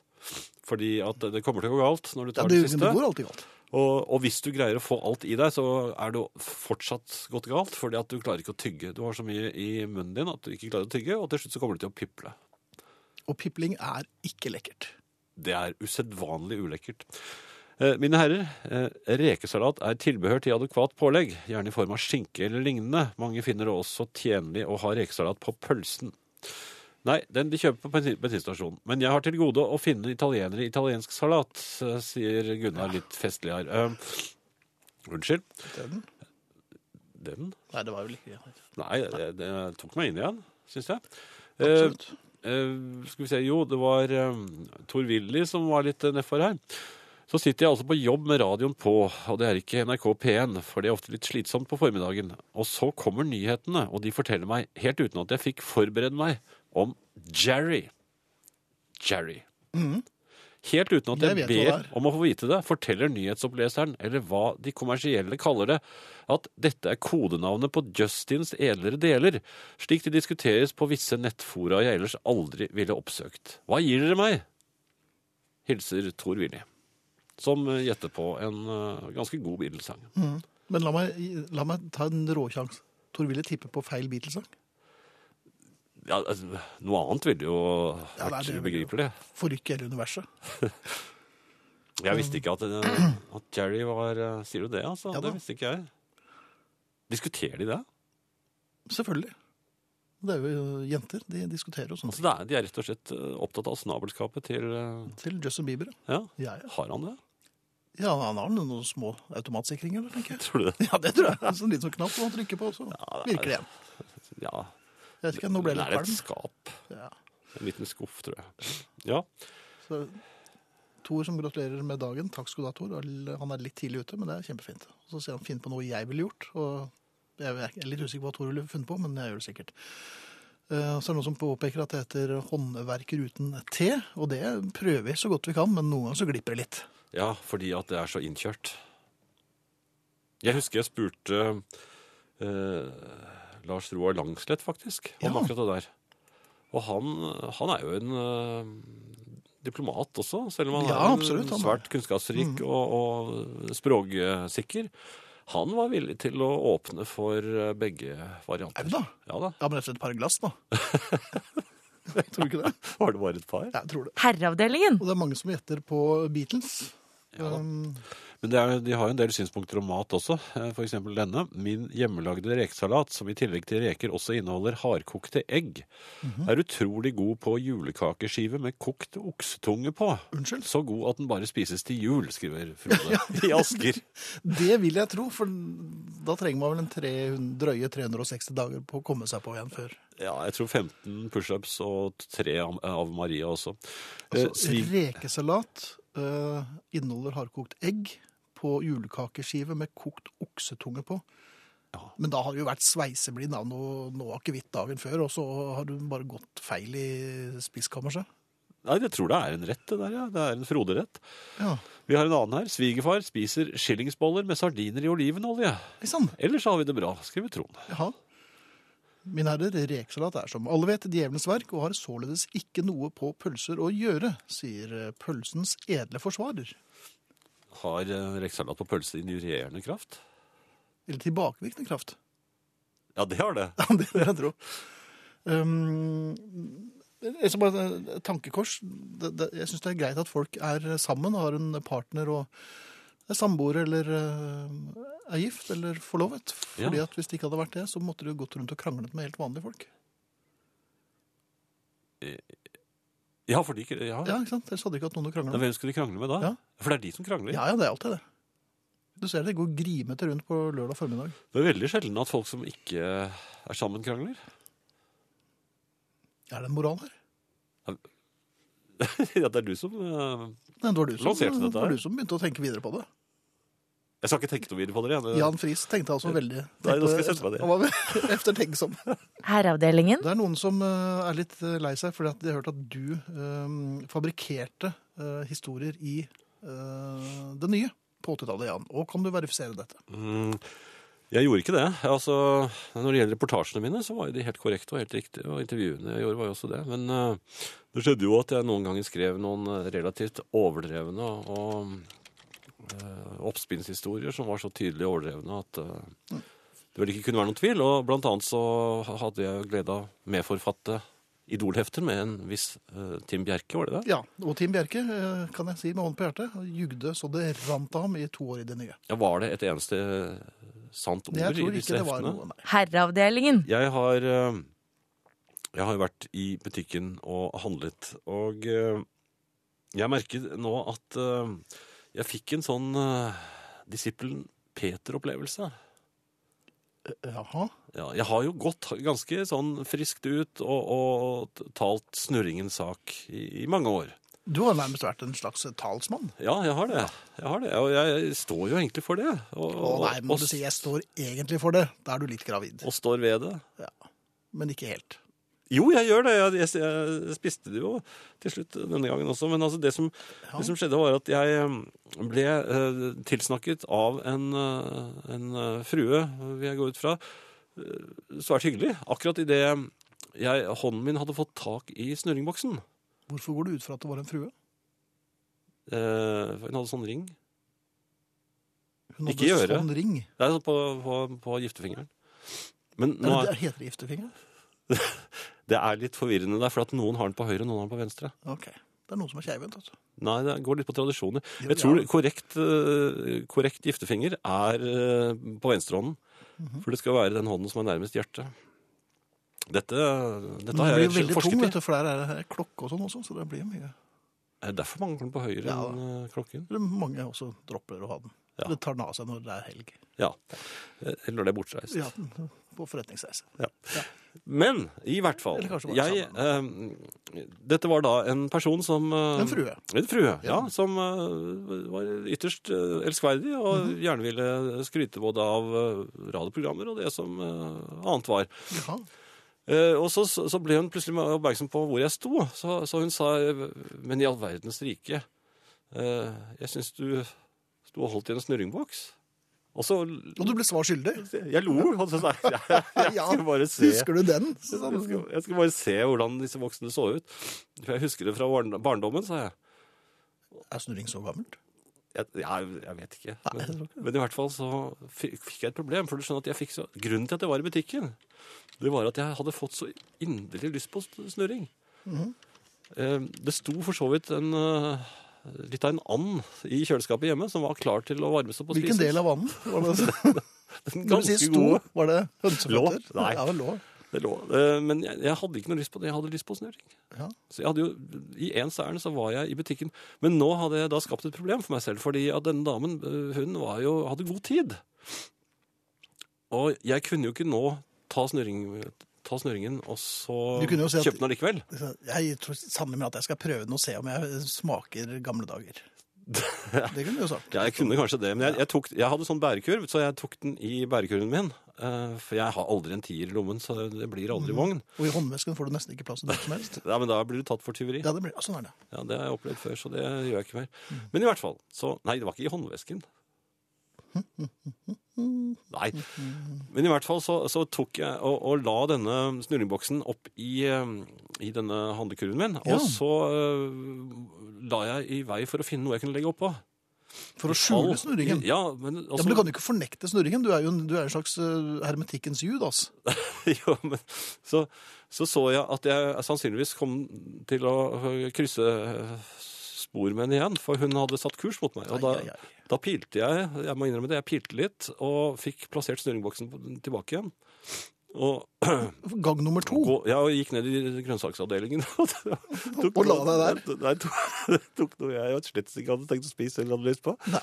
[SPEAKER 2] Fordi at det kommer til å gå galt når du
[SPEAKER 1] Ja,
[SPEAKER 2] tar
[SPEAKER 1] det,
[SPEAKER 2] det
[SPEAKER 1] det
[SPEAKER 2] siste.
[SPEAKER 1] går alltid galt.
[SPEAKER 2] Og, og hvis du greier å få alt i deg, så er det fortsatt gått galt. Fordi at du klarer ikke å tygge. Du har så mye i munnen din at du ikke klarer å tygge, og til slutt så kommer du til å piple.
[SPEAKER 1] Og pipling er ikke lekkert.
[SPEAKER 2] Det er usedvanlig ulekkert. Eh, Mine herrer, eh, rekesalat er tilbehør til adekvat pålegg, gjerne i form av skinke eller lignende. Mange finner det også tjenlig å ha rekesalat på pølsen. Nei, den de kjøper på bensin- bensinstasjonen. Men jeg har til gode å finne italienere i italiensk salat, eh, sier Gunnar litt festlig her. Eh, Unnskyld.
[SPEAKER 1] Den? Eh,
[SPEAKER 2] Den?
[SPEAKER 1] Nei, det var vel ikke
[SPEAKER 2] Nei, det, det tok meg inn igjen, syns jeg. Eh,
[SPEAKER 1] Absolutt.
[SPEAKER 2] Eh, skal vi se, jo, det var eh, Tor Willy som var litt eh, nedfor her. Så sitter jeg altså på jobb med radioen på, og det er ikke NRK P1, for det er ofte litt slitsomt på formiddagen. Og så kommer nyhetene, og de forteller meg, helt uten at jeg fikk forberede meg, om Jerry. Jerry. Helt uten at
[SPEAKER 1] Jeg vet
[SPEAKER 2] jeg,
[SPEAKER 1] hva Mm.
[SPEAKER 2] ber
[SPEAKER 1] det er.
[SPEAKER 2] om å få vite det, forteller nyhetsoppleseren, eller hva de kommersielle kaller det, at dette er kodenavnet på Justins edlere deler, slik de diskuteres på visse nettfora jeg ellers aldri ville oppsøkt. Hva gir dere meg? Hilser Tor Willy, som eh, gjetter på en eh, ganske god Beatles-sang.
[SPEAKER 1] Mm. Men la meg, la meg ta en råsjanse. Tor ville tippe på feil Beatles-sang.
[SPEAKER 2] Ja, altså, noe annet ville jo
[SPEAKER 1] Ja,
[SPEAKER 2] vært
[SPEAKER 1] det er det.
[SPEAKER 2] ubegripelig.
[SPEAKER 1] Forrykke hele universet.
[SPEAKER 2] Jeg visste ikke at, eh, at Jerry var eh, Sier du det, altså?
[SPEAKER 1] Ja da.
[SPEAKER 2] det visste ikke jeg. Diskuterer de det?
[SPEAKER 1] Selvfølgelig. Det er jo jenter. De diskuterer jo sånt.
[SPEAKER 2] Altså, det er, de er rett og slett eh, opptatt av snabelskapet til eh,
[SPEAKER 1] Til Justin Bieber.
[SPEAKER 2] Ja,
[SPEAKER 1] Ja, ja.
[SPEAKER 2] har han det?
[SPEAKER 1] ja han har noen små automatsikringer, eller, tenker jeg.
[SPEAKER 2] Tror du
[SPEAKER 1] [laughs]
[SPEAKER 2] det?
[SPEAKER 1] Ja, det tror jeg. Det er sånn liten sånn knapp man trykker på, så virker det igjen.
[SPEAKER 2] Ja.
[SPEAKER 1] Jeg vet ikke, nå ble jeg
[SPEAKER 2] det
[SPEAKER 1] litt
[SPEAKER 2] er et
[SPEAKER 1] kvalm.
[SPEAKER 2] skap.
[SPEAKER 1] Ja.
[SPEAKER 2] En liten skuff, tror jeg. Ja.
[SPEAKER 1] Så, Tor som gratulerer med dagen. Takk skal du ha, Tor. Han er litt tidlig ute, men det er kjempefint. Så sier han finn på noe jeg ville gjort. Og jeg er litt usikker på hva Tor ville funnet på, men jeg gjør det sikkert. Eh, Så er det noen som påpeker at det heter håndverker uten T, og det prøver vi så godt vi kan, men noen ganger så glipper det litt.
[SPEAKER 2] ja, fordi at det er så innkjørt. Jeg husker jeg spurte eh, Lars Roar Langslett, faktisk, om
[SPEAKER 1] Ja.
[SPEAKER 2] akkurat det der. Og han, han er jo en eh, diplomat også, selv om han
[SPEAKER 1] Ja,
[SPEAKER 2] er Mm. en
[SPEAKER 1] absolutt, han er.
[SPEAKER 2] svært kunnskapsrik og, og språksikker. Han var villig til å åpne for eh, begge varianter.
[SPEAKER 1] Au da.
[SPEAKER 2] Ja da.
[SPEAKER 1] Ja, men etter et par glass,
[SPEAKER 2] [laughs]
[SPEAKER 1] da. tror du ikke det?
[SPEAKER 2] Var det bare et par?
[SPEAKER 1] Jeg tror det.
[SPEAKER 3] Herreavdelingen.
[SPEAKER 1] Og det er mange som gjetter på Beatles.
[SPEAKER 2] Ja da.
[SPEAKER 1] Um,
[SPEAKER 2] Men det er, de har jo en del synspunkter om mat også. Eh, For eksempel denne. Min hjemmelagde rekesalat, som i tillegg til reker også inneholder hardkokte egg,
[SPEAKER 1] Mhm.
[SPEAKER 2] er utrolig god på julekakeskive med kokt oksetunge på.
[SPEAKER 1] Unnskyld?
[SPEAKER 2] Så god at den bare spises til jul, skriver
[SPEAKER 1] [laughs]
[SPEAKER 2] Frode i Asker.
[SPEAKER 1] det vil jeg tro, for da trenger man vel en 300, drøye 360 dager på å komme seg på igjen før.
[SPEAKER 2] Ja, jeg tror 15 pushups og tre av- av Maria også. Eh,
[SPEAKER 1] Altså,
[SPEAKER 2] svig-
[SPEAKER 1] rekesalat eh, inneholder hardkokt egg på julekakeskive med kokt oksetunge på.
[SPEAKER 2] Ja.
[SPEAKER 1] Men da har du jo vært sveiseblind av noe, noe akevitt dagen før, og så har du bare gått feil i spiskammerset.
[SPEAKER 2] Nei, jeg tror det er en rett, det der. ja. Det er en Frode-rett.
[SPEAKER 1] Ja,
[SPEAKER 2] Vi har en annen her. Svigerfar spiser skillingsboller med sardiner i olivenolje.
[SPEAKER 1] ikke sant?
[SPEAKER 2] Ellers har vi det bra, skriver Trond.
[SPEAKER 1] Jaha. Mine herrer, rekesalat er som alle vet djevelens verk, og har således ikke noe på pølser å gjøre, sier eh, pølsens edle forsvarer.
[SPEAKER 2] Har eh, rekesalat på pølse injurierende kraft?
[SPEAKER 1] Eller tilbakevirkende kraft. [laughs]
[SPEAKER 2] Ja, det har det.
[SPEAKER 1] Ja, det vil jeg tro. Um, jeg skal bare, et tankekors. Det, det, jeg syns det er greit at folk er sammen og har en partner og er samboere eller eh, er gift eller forlovet.
[SPEAKER 2] Ja.
[SPEAKER 1] Fordi at Hvis det ikke hadde vært det, så måtte du gått rundt og kranglet med helt vanlige folk.
[SPEAKER 2] Ja, for de, ja.
[SPEAKER 1] Ja, ikke sant? Ellers hadde du ikke hatt noen å
[SPEAKER 2] Men
[SPEAKER 1] krangle med.
[SPEAKER 2] Hvem skulle de krangle med da?
[SPEAKER 1] Ja.
[SPEAKER 2] For det er de som krangler.
[SPEAKER 1] Ja, ja, det er alltid det. Du ser det går grimete rundt på lørdag formiddag.
[SPEAKER 2] Det er veldig sjelden at folk som ikke er sammen, krangler. [laughs]
[SPEAKER 1] Er det en moral her?
[SPEAKER 2] ja, det er du som eh,
[SPEAKER 1] Nei, det var du som,
[SPEAKER 2] Lanserte dette
[SPEAKER 1] det var
[SPEAKER 2] her.
[SPEAKER 1] du som begynte å tenke videre på det.
[SPEAKER 2] Jeg skal ikke tenke noe videre på det. Jeg.
[SPEAKER 1] Jan Friis tenkte altså veldig
[SPEAKER 2] Nei, da skal jeg
[SPEAKER 1] tenkte-
[SPEAKER 2] sette meg ned.
[SPEAKER 1] Han var [laughs] eftertenksom.
[SPEAKER 3] Herreavdelingen.
[SPEAKER 1] Det er noen som eh, er litt eh, lei seg fordi at de har hørt at du eh, fabrikkerte eh, historier i eh, det nye på 80-tallet, Jan. Og kan du verifisere dette?
[SPEAKER 2] Mm, jeg gjorde ikke det. Altså, når det gjelder reportasjene mine, så var jo de helt korrekte og helt riktige. Og intervjuene jeg gjorde, var jo også det. Men eh, det skjedde jo at jeg noen ganger skrev noen eh, relativt overdrevne og eh, oppspinnshistorier som var så tydelig overdrevne at eh, det vel ikke kunne være noen tvil. Og blant annet så hadde jeg jo glede av å medforfatte Idol-hefter med en viss eh, Tim Bjerke, var det det?
[SPEAKER 1] Ja. Og Tim Bjerke, eh, kan jeg si med hånden på hjertet, jugde så det rant av ham i to år i det nye.
[SPEAKER 2] Ja, var det et eneste eh, sant ord
[SPEAKER 1] Jeg
[SPEAKER 2] i
[SPEAKER 1] tror
[SPEAKER 2] disse
[SPEAKER 1] ikke det var
[SPEAKER 2] heftene?
[SPEAKER 1] noe, nei.
[SPEAKER 3] Herreavdelingen.
[SPEAKER 2] Jeg har eh, Jeg har jo vært i butikken og handlet, og eh, jeg merker nå at eh, jeg fikk en sånn eh, disippelen Peter-opplevelse.
[SPEAKER 1] Jaha.
[SPEAKER 2] Ja, jeg har jo gått ganske sånn friskt ut og, og talt snurringens sak i, i mange år.
[SPEAKER 1] Du har nærmest vært en slags eh, talsmann.
[SPEAKER 2] Ja, jeg har det. Jeg har det, Og jeg står jo egentlig for det. Og,
[SPEAKER 1] Å nei, må
[SPEAKER 2] og-
[SPEAKER 1] du si jeg står egentlig for det. Da er du litt gravid.
[SPEAKER 2] og står ved det.
[SPEAKER 1] Men ikke helt.
[SPEAKER 2] Jo, jeg gjør det. Jeg, jeg, jeg spiste det jo til slutt denne gangen også. Men altså det, som, det som skjedde, var at jeg eh, ble eh, tilsnakket av en, eh, en eh, frue, vil jeg gå ut fra. eh, Svært hyggelig. Akkurat idet jeg hånden min hadde fått tak i snurringboksen.
[SPEAKER 1] Hvorfor går du ut fra at det var en frue?
[SPEAKER 2] Eh, Hun hadde sånn ring.
[SPEAKER 1] Hun
[SPEAKER 2] Ikke i øret.
[SPEAKER 1] sånn ring.
[SPEAKER 2] Det er sånn på, på, på giftefingeren. Men
[SPEAKER 1] Er
[SPEAKER 2] nå
[SPEAKER 1] det,
[SPEAKER 2] er,
[SPEAKER 1] er- heter det giftefinger?
[SPEAKER 2] det er litt forvirrende der, for at noen har den på høyre, noen har den på venstre.
[SPEAKER 1] Ok. Det er noen som er keivhendt, altså.
[SPEAKER 2] Nei, det går litt på tradisjoner.
[SPEAKER 1] Jo,
[SPEAKER 2] Jeg tror
[SPEAKER 1] ja.
[SPEAKER 2] korrekt, eh, korrekt giftefinger er eh, på venstrehånden.
[SPEAKER 1] Mhm.
[SPEAKER 2] For det skal være den hånden som er nærmest hjertet. Dette, dette har
[SPEAKER 1] Men det
[SPEAKER 2] jeg
[SPEAKER 1] blir jo veldig
[SPEAKER 2] forsket
[SPEAKER 1] tung,
[SPEAKER 2] i.
[SPEAKER 1] vet du, for der er det klokke og sånn også, så det blir mye.
[SPEAKER 2] Er det Derfor mangler den på høyre
[SPEAKER 1] Ja, da.
[SPEAKER 2] enn eh, klokken.
[SPEAKER 1] Eller mange også dropper å ha den.
[SPEAKER 2] Ja.
[SPEAKER 1] Eller tar den av seg når det er helg.
[SPEAKER 2] Ja. Eh, Eller det er bortreist.
[SPEAKER 1] Ja, på forretningsreise.
[SPEAKER 2] Men i hvert fall
[SPEAKER 1] Eller kanskje bare
[SPEAKER 2] jeg, eh, Dette var da en person som eh,
[SPEAKER 1] En frue.
[SPEAKER 2] En frue, ja. Som eh, var ytterst eh, elskverdig og gjerne ville skryte både av eh, radioprogrammer og det som eh, annet var.
[SPEAKER 1] Jaha.
[SPEAKER 2] Eh, og så, så så ble hun plutselig oppmerksom på hvor jeg sto, så, så hun sa Men i all verdens rike, eh, jeg syns du sto og holdt i en snurringboks. Og så
[SPEAKER 1] Og du ble svar skyldig.
[SPEAKER 2] Jeg lo, og så sa jeg jeg, jeg
[SPEAKER 1] Ja,
[SPEAKER 2] skulle bare se
[SPEAKER 1] Husker du den?
[SPEAKER 2] jeg skulle, jeg skulle bare se hvordan disse voksne så ut. For jeg husker det fra barn- barndommen, sa jeg.
[SPEAKER 1] Er snurring så gammelt?
[SPEAKER 2] Jeg, jeg, jeg vet ikke. Men, men i hvert fall så fikk, fikk jeg et problem. For du skjønner at jeg fikk så, grunnen til at jeg var i butikken, det var at jeg hadde fått så inderlig lyst på snurring.
[SPEAKER 1] Mhm.
[SPEAKER 2] Eh, Det sto for så vidt en eh, litt av en and i kjøleskapet hjemme som var klar til å varmes opp og
[SPEAKER 1] Hvilken
[SPEAKER 2] spises.
[SPEAKER 1] del av vannet var
[SPEAKER 2] [laughs]
[SPEAKER 1] det? Når du
[SPEAKER 2] Ganske
[SPEAKER 1] sier sto,
[SPEAKER 2] gode.
[SPEAKER 1] var det
[SPEAKER 2] Lå?
[SPEAKER 1] hønseføtter?
[SPEAKER 2] Nei.
[SPEAKER 1] Ja, det lå.
[SPEAKER 2] Det lå. Eh, Men jeg, jeg hadde ikke noe lyst på det. Jeg hadde lyst på snurring.
[SPEAKER 1] Ja.
[SPEAKER 2] Så jeg hadde jo, I ens ærend så var jeg i butikken. Men nå hadde jeg da skapt et problem for meg selv, fordi at denne damen eh, hun var jo, hadde god tid. Og jeg kunne jo ikke nå ta, snurring, ta snurringen og så
[SPEAKER 1] Du kunne jo si at-
[SPEAKER 2] kjøpe den allikevel.
[SPEAKER 1] Jeg tror sammen med at jeg skal prøve den og se om jeg smaker gamle
[SPEAKER 2] [laughs]
[SPEAKER 1] dager. Det kunne du jo sagt.
[SPEAKER 2] Ja, jeg kunne kanskje det, men jeg, jeg, tok, jeg hadde sånn bærekurv, så jeg tok den i bærekurven min. eh, for jeg har aldri en tier i lommen, så det blir aldri vogn.
[SPEAKER 1] Og i håndvesken får du nesten ikke plass til noe som helst.
[SPEAKER 2] Ja, men da blir du tatt for tyveri.
[SPEAKER 1] Ja, det blir, ja, sånn er det.
[SPEAKER 2] Ja, Det har jeg opplevd før, så det gjør jeg ikke mer. Men i hvert fall så Nei, det var ikke i håndvesken. Nei. Men i hvert fall så, så tok jeg og, og la denne snurringboksen opp i, eh, i denne handlekurven min.
[SPEAKER 1] Ja.
[SPEAKER 2] Og så eh, la jeg i vei for å finne noe jeg kunne legge oppå.
[SPEAKER 1] For å skjule snurringen.
[SPEAKER 2] Ja, men, altså,
[SPEAKER 1] Ja,
[SPEAKER 2] også,
[SPEAKER 1] men Du kan jo ikke fornekte snurringen. Du er jo en, du er en slags eh, hermetikkens judas.
[SPEAKER 2] [laughs] jo, men så, så så jeg at jeg sannsynligvis kom til å øh, krysse øh, spor med henne igjen, for hun hadde satt kurs mot meg. Og da,
[SPEAKER 1] Ai, ai, ai.
[SPEAKER 2] da pilte jeg, jeg må innrømme det, jeg pilte litt, og fikk plassert snurringboksen på- tilbake igjen. Og,
[SPEAKER 1] Gang nummer to.
[SPEAKER 2] og jeg gikk ned i grønnsaksavdelingen. [laughs] Og, tok
[SPEAKER 1] Og la
[SPEAKER 2] noe-
[SPEAKER 1] deg
[SPEAKER 2] Nei, tok, [laughs] tok noe jeg slett ikke hadde tenkt å spise eller hadde lyst på.
[SPEAKER 1] Nei,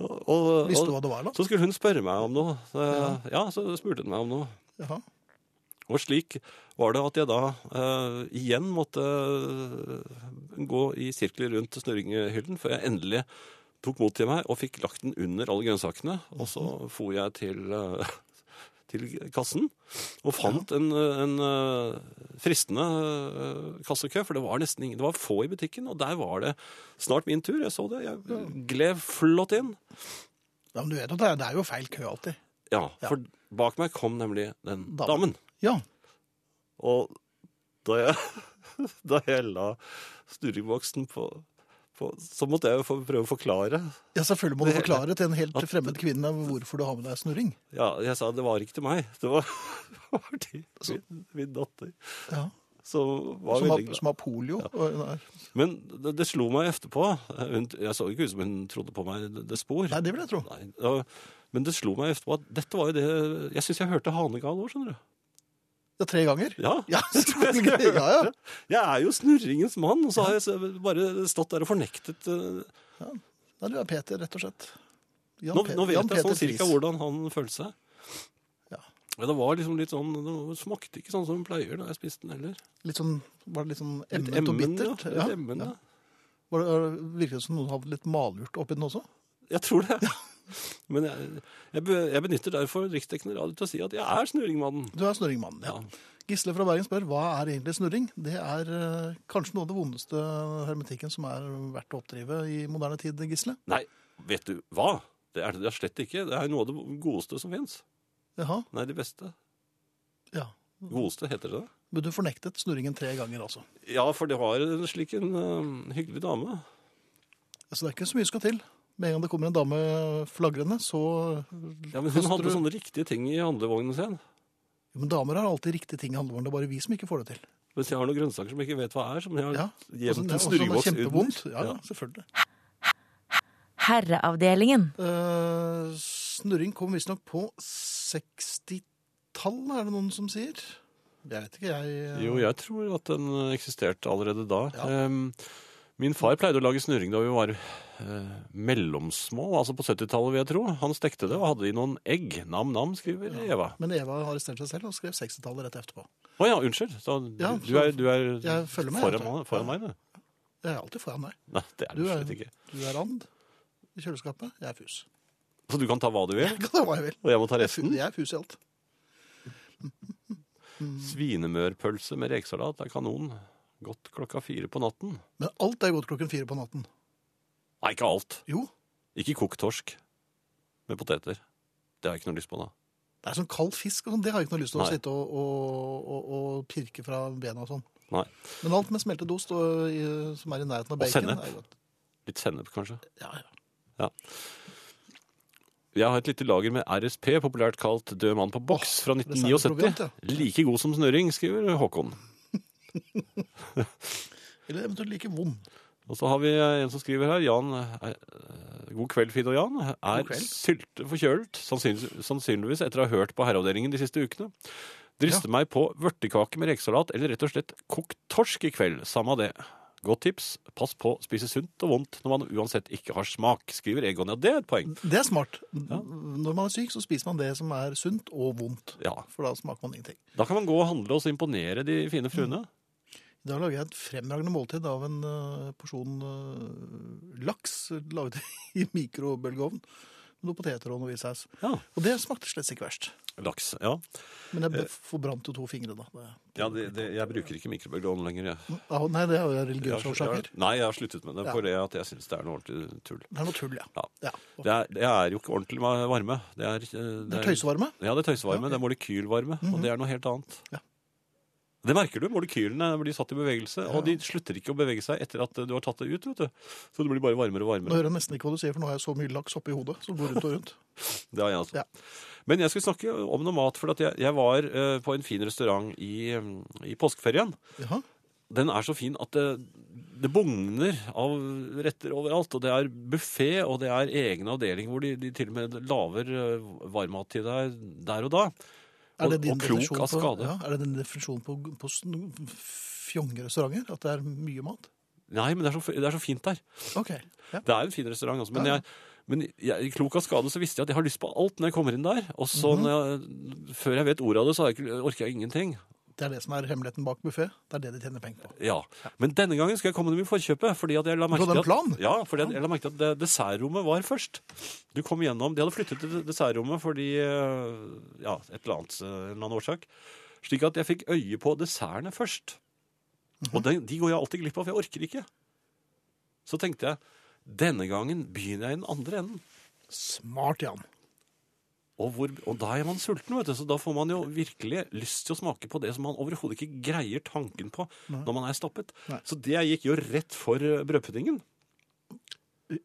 [SPEAKER 2] Og, og,
[SPEAKER 1] Visste du
[SPEAKER 2] og,
[SPEAKER 1] hva det var, da?
[SPEAKER 2] så skulle hun spørre meg om noe. Eh, Ja, så spurte hun meg om noe.
[SPEAKER 1] Jaha.
[SPEAKER 2] Og slik var det at jeg da eh, igjen måtte eh, gå i sirkler rundt snurringhyllen før jeg endelig tok mot til meg og fikk lagt den under alle grønnsakene. Og så
[SPEAKER 1] Mhm.
[SPEAKER 2] for jeg til, eh, til kassen og fant en, eh, en eh, fristende eh, kassekø, for det var nesten ingen, det var få i butikken, og der var det snart min tur. Jeg så det, jeg gled flott inn.
[SPEAKER 1] Ja, men du vet at det er, det er jo feil kø alltid.
[SPEAKER 2] Ja,
[SPEAKER 1] Ja.
[SPEAKER 2] for bak meg kom nemlig den
[SPEAKER 1] Damen.
[SPEAKER 2] damen.
[SPEAKER 1] Ja.
[SPEAKER 2] Og da jeg, [laughs] da jeg la snurringboksen på, på Så måtte jeg jo få- prøve å forklare.
[SPEAKER 1] ja, selvfølgelig må du
[SPEAKER 2] Det-
[SPEAKER 1] forklare til en helt fremmed kvinne hvorfor du har med deg snurring.
[SPEAKER 2] Ja, jeg sa det var ikke til meg. Det var, [laughs] det var til min, min datter.
[SPEAKER 1] Ja.
[SPEAKER 2] Som var
[SPEAKER 1] Som, har,
[SPEAKER 2] veldig glad.
[SPEAKER 1] som har polio. Og, nei,
[SPEAKER 2] Men det, det slo meg etterpå. Hun, jeg så ikke ut som hun trodde på meg det, det spor.
[SPEAKER 1] nei, det vil jeg tro.
[SPEAKER 2] Nei, og- men det slo meg etterpå at dette var jo det Jeg syns jeg hørte hanegal nå, skjønner du.
[SPEAKER 1] Ja, tre ganger.
[SPEAKER 2] Ja.
[SPEAKER 1] Ja, [laughs] selvfølgelig. Ja, ja.
[SPEAKER 2] Jeg er jo snurringens mann, og så har jeg s- bare stått der og fornektet eh,
[SPEAKER 1] Nei, du er Peter, rett og slett. Jan
[SPEAKER 2] Nå,
[SPEAKER 1] Pe-
[SPEAKER 2] nå vet
[SPEAKER 1] Jan
[SPEAKER 2] jeg sånn
[SPEAKER 1] Peter
[SPEAKER 2] cirka
[SPEAKER 1] Friis.
[SPEAKER 2] hvordan han følte seg.
[SPEAKER 1] Ja.
[SPEAKER 2] Men det var liksom litt sånn, det smakte ikke sånn som hun pleier da jeg spiste den heller.
[SPEAKER 1] Litt sånn, var det litt sånn
[SPEAKER 2] Litt
[SPEAKER 1] emnet og
[SPEAKER 2] emmen,
[SPEAKER 1] bittert?
[SPEAKER 2] Ja. Litt emmen, ja.
[SPEAKER 1] Var det, virket det som noen hadde litt malurt oppi den også?
[SPEAKER 2] Jeg tror det. [laughs] Men jeg, jeg, be- jeg benytter derfor Riksdekkende radio til å si at jeg er snurringmannen.
[SPEAKER 1] Du er snurringmannen, ja.
[SPEAKER 2] Ja.
[SPEAKER 1] Gisle fra Bergen spør hva er egentlig snurring. Det er eh, kanskje noe av det vondeste hermetikken som er verdt å oppdrive i moderne tid, Gisle.
[SPEAKER 2] Nei, vet du hva? Det er det da slett ikke. Det er noe av det godeste som fins.
[SPEAKER 1] Jaha,
[SPEAKER 2] Nei, det beste.
[SPEAKER 1] ja.
[SPEAKER 2] Godeste heter det.
[SPEAKER 1] Men du fornektet snurringen tre ganger, altså.
[SPEAKER 2] Ja, for det var en slik en øhm, hyggelig dame.
[SPEAKER 1] Så det er ikke så mye som skal til. Med en gang det kommer en dame flagrende, så
[SPEAKER 2] Ja, men
[SPEAKER 1] Koster
[SPEAKER 2] Hun hadde
[SPEAKER 1] du-
[SPEAKER 2] sånne riktige ting i handlevognen sin.
[SPEAKER 1] Jo, Men damer har alltid riktige ting i handlevognen. Det er bare vi som ikke får det til.
[SPEAKER 2] Mens jeg har noen grønnsaker som jeg ikke vet hva er, som jeg har
[SPEAKER 1] Ja. Og sånn-
[SPEAKER 2] gjemt
[SPEAKER 1] og
[SPEAKER 2] en
[SPEAKER 1] sånn er
[SPEAKER 2] snurreboks under.
[SPEAKER 1] Kjempevondt. Ja, ja,
[SPEAKER 2] Ja.
[SPEAKER 1] selvfølgelig.
[SPEAKER 3] Herreavdelingen.
[SPEAKER 1] Eh, snurring kom visstnok på 60-tallet, er det noen som sier? Jeg vet ikke, jeg eh,
[SPEAKER 2] Jo, jeg tror at den eksisterte allerede da.
[SPEAKER 1] Ja.
[SPEAKER 2] Ehm, Min far pleide å lage snurring da vi var eh, mellomsmå, altså på 70-tallet, vil jeg tro. Han stekte det og hadde i noen egg. Nam-nam, skriver Eva.
[SPEAKER 1] Men Eva arresterte seg selv og skrev 60-tallet rett etterpå.
[SPEAKER 2] Å ja, unnskyld. Så,
[SPEAKER 1] Ja,
[SPEAKER 2] du, du
[SPEAKER 1] så-
[SPEAKER 2] er, du er
[SPEAKER 1] jeg følger med, jeg
[SPEAKER 2] foran,
[SPEAKER 1] tror.
[SPEAKER 2] meg- foran meg, du.
[SPEAKER 1] Jeg er alltid foran deg.
[SPEAKER 2] Nei, det er du
[SPEAKER 1] Du er-
[SPEAKER 2] slett ikke.
[SPEAKER 1] Du er and i kjøleskapet, jeg er fus. [laughs]
[SPEAKER 2] Så du kan ta hva du vil,
[SPEAKER 1] Jeg kan ta hva jeg vil.
[SPEAKER 2] og jeg må ta
[SPEAKER 1] Jeg er fu-
[SPEAKER 2] resten?
[SPEAKER 1] Jeg er fus i alt.
[SPEAKER 2] Svinemørpølse med rekesalat er kanon. Godt klokka fire på natten.
[SPEAKER 1] Men alt er godt klokken fire på natten.
[SPEAKER 2] Nei, ikke alt.
[SPEAKER 1] Jo,
[SPEAKER 2] Ikke kokt torsk med poteter. Det har jeg ikke noe lyst på da.
[SPEAKER 1] det er sånn kald fisk og sånn. Det har jeg ikke noe lyst til å
[SPEAKER 2] Nei.
[SPEAKER 1] sitte og, og, og, og pirke fra bena og sånn.
[SPEAKER 2] Nei.
[SPEAKER 1] Men alt med smeltet ost og, i- som er i nærheten av
[SPEAKER 2] Og
[SPEAKER 1] bacon
[SPEAKER 2] sennep.
[SPEAKER 1] er godt.
[SPEAKER 2] Litt sennep, kanskje.
[SPEAKER 1] Ja, ja.
[SPEAKER 2] Jeg har et lite lager med RSP, populært kalt Død mann på boks, fra
[SPEAKER 1] det er særlig
[SPEAKER 2] 1979.
[SPEAKER 1] proviant,
[SPEAKER 2] Like god som snøring, skriver Håkon.
[SPEAKER 1] Eller eventuelt like vond.
[SPEAKER 2] Og så har vi eh, en som skriver her, Jan, er, god kveld, Fid og Jan, er
[SPEAKER 1] kveld.
[SPEAKER 2] sylte forkjølt, sannsynlig- sannsynligvis etter å ha hørt på herreavdelingen de siste ukene. Drister meg på vørtekake med rekesalat, eller rett og slett kokt torsk i kveld, samme av det. Godt tips, pass på å spise sunt og vondt når man uansett ikke har smak, skriver Egon. Ja, det er et poeng.
[SPEAKER 1] Det er smart. Når man er syk, så spiser man det som er sunt og vondt.
[SPEAKER 2] Ja,
[SPEAKER 1] For da smaker man ingenting.
[SPEAKER 2] da kan man gå og handle og så imponere de fine fruene.
[SPEAKER 1] I dag lager jeg et fremragende måltid av en eh, porsjon eh, laks laget [laughs] i mikrobølgeovn. Med noen poteter og noe hvitsaus.
[SPEAKER 2] Ja,
[SPEAKER 1] Og det smakte slett ikke verst.
[SPEAKER 2] laks, ja.
[SPEAKER 1] Men jeg be- forbrant jo to fingre, da. Det,
[SPEAKER 2] Ja, det, det, jeg bruker ikke mikrobølgeovn lenger, jeg.
[SPEAKER 1] Ah, nei, det er jo
[SPEAKER 2] Jeg har- jeg
[SPEAKER 1] religiønsårsaker.
[SPEAKER 2] har- Nei, jeg har sluttet med det,
[SPEAKER 1] Ja.
[SPEAKER 2] for det at jeg synes det er noe ordentlig tull.
[SPEAKER 1] Det er noe tull, ja.
[SPEAKER 2] Ja.
[SPEAKER 1] ja.
[SPEAKER 2] Det er, det er jo ikke ordentlig va- varme. Det er, eh,
[SPEAKER 1] Det er tøysevarme.
[SPEAKER 2] Ja, det er tøysevarme.
[SPEAKER 1] Ja, ok.
[SPEAKER 2] Det er molekylvarme, og det er noe helt annet.
[SPEAKER 1] Ja.
[SPEAKER 2] Det merker du. Molekylene blir satt i bevegelse,
[SPEAKER 1] Ja.
[SPEAKER 2] og de slutter ikke å bevege seg etter at eh, du har tatt det ut. vet du. Så det blir bare varmere og
[SPEAKER 1] Nå
[SPEAKER 2] varmere.
[SPEAKER 1] hører jeg nesten ikke hva du sier, for nå har jeg så mye laks oppi hodet som går rundt og rundt.
[SPEAKER 2] Det har jeg altså.
[SPEAKER 1] Ja.
[SPEAKER 2] Men jeg skal snakke om noe mat, for at jeg, jeg var eh, på en fin restaurant i, eh, i påskeferien.
[SPEAKER 1] Jaha.
[SPEAKER 2] Den er så fin at det, det bugner av retter overalt. Og det er buffé, og det er egen avdeling hvor de, de til og med lager eh, varmmat til deg der og da.
[SPEAKER 1] Er det
[SPEAKER 2] Og-
[SPEAKER 1] din
[SPEAKER 2] og klok
[SPEAKER 1] definisjon
[SPEAKER 2] av
[SPEAKER 1] på-
[SPEAKER 2] skade.
[SPEAKER 1] Ja, er det din definisjon på, på sn- fjongerestauranter? At det er mye mat?
[SPEAKER 2] Nei, men det er, så, f- det er så fint der.
[SPEAKER 1] Ok. Ja.
[SPEAKER 2] Det er en fin restaurant, altså. Men,
[SPEAKER 1] Ja.
[SPEAKER 2] jeg, men jeg, i klok av skade så visste jeg at jeg har lyst på alt når jeg kommer inn der. Og så
[SPEAKER 1] Mhm.
[SPEAKER 2] når jeg, før jeg vet ordet av det, så har jeg ikke, orker jeg ingenting.
[SPEAKER 1] Det er det som er hemmeligheten bak buffé. Det er det de tjener penger på.
[SPEAKER 2] Ja. Men denne gangen skal jeg komme dem i forkjøpet. fordi at jeg la merke
[SPEAKER 1] hadde en
[SPEAKER 2] til at,
[SPEAKER 1] plan?
[SPEAKER 2] ja, fordi at jeg la merke til at det, dessertrommet var først. Du kom gjennom, De hadde flyttet til dessertrommet fordi eh, ja, et eller annet, eh, en eller annen årsak. Slik at jeg fikk øye på dessertene først. Og
[SPEAKER 1] Mhm.
[SPEAKER 2] den, de går jeg alltid glipp av, for jeg orker ikke. Så tenkte jeg denne gangen begynner jeg i den andre enden.
[SPEAKER 1] Smart, Jan.
[SPEAKER 2] Og, hvor, og da er man sulten, vet du, så da får man jo virkelig lyst til å smake på det som man overhodet ikke greier tanken på når man er stappet.
[SPEAKER 1] Nei.
[SPEAKER 2] Så det gikk jo rett for eh, brødpuddingen.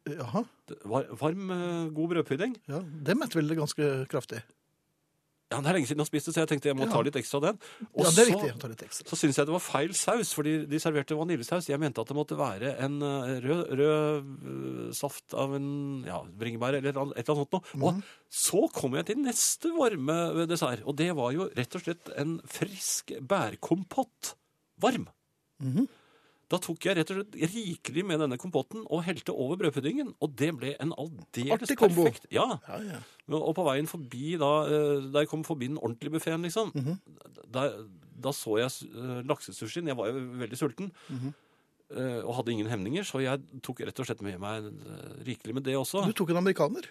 [SPEAKER 1] Jaha.
[SPEAKER 2] Det var- Varm, eh, god brødpudding.
[SPEAKER 1] Ja, det metter vel det ganske kraftig.
[SPEAKER 2] Ja, Det er lenge siden jeg har spist det, så jeg tenkte jeg må ta litt ekstra av den. Og
[SPEAKER 1] ja, det er
[SPEAKER 2] så-
[SPEAKER 1] riktig. Jeg tar litt ekstra.
[SPEAKER 2] Så syns jeg det var feil saus, fordi de serverte vaniljesaus. Jeg mente at det måtte være en eh, rød, rød eh, saft av en ja, bringebær eller et eller annet- et eller annet sånt noe.
[SPEAKER 1] Mhm.
[SPEAKER 2] Og så kom jeg til neste varme eh, dessert, og det var jo rett og slett en frisk bærkompott. Varm.
[SPEAKER 1] Mhm.
[SPEAKER 2] Da tok jeg rett og slett rikelig med denne kompotten og helte over brødpuddingen, og det ble en aldeles
[SPEAKER 1] Artig kombo.
[SPEAKER 2] perfekt Ja,
[SPEAKER 1] Ja, ja.
[SPEAKER 2] og på veien forbi da, eh, da jeg kom forbi den ordentlige buffeen, liksom,
[SPEAKER 1] Mhm.
[SPEAKER 2] da, da så jeg eh, laksesushien. Jeg var jo veldig sulten.
[SPEAKER 1] Mhm.
[SPEAKER 2] eh, Og hadde ingen hemninger, så jeg tok rett og slett med meg eh, rikelig med det
[SPEAKER 1] Du
[SPEAKER 2] også.
[SPEAKER 1] tok en amerikaner.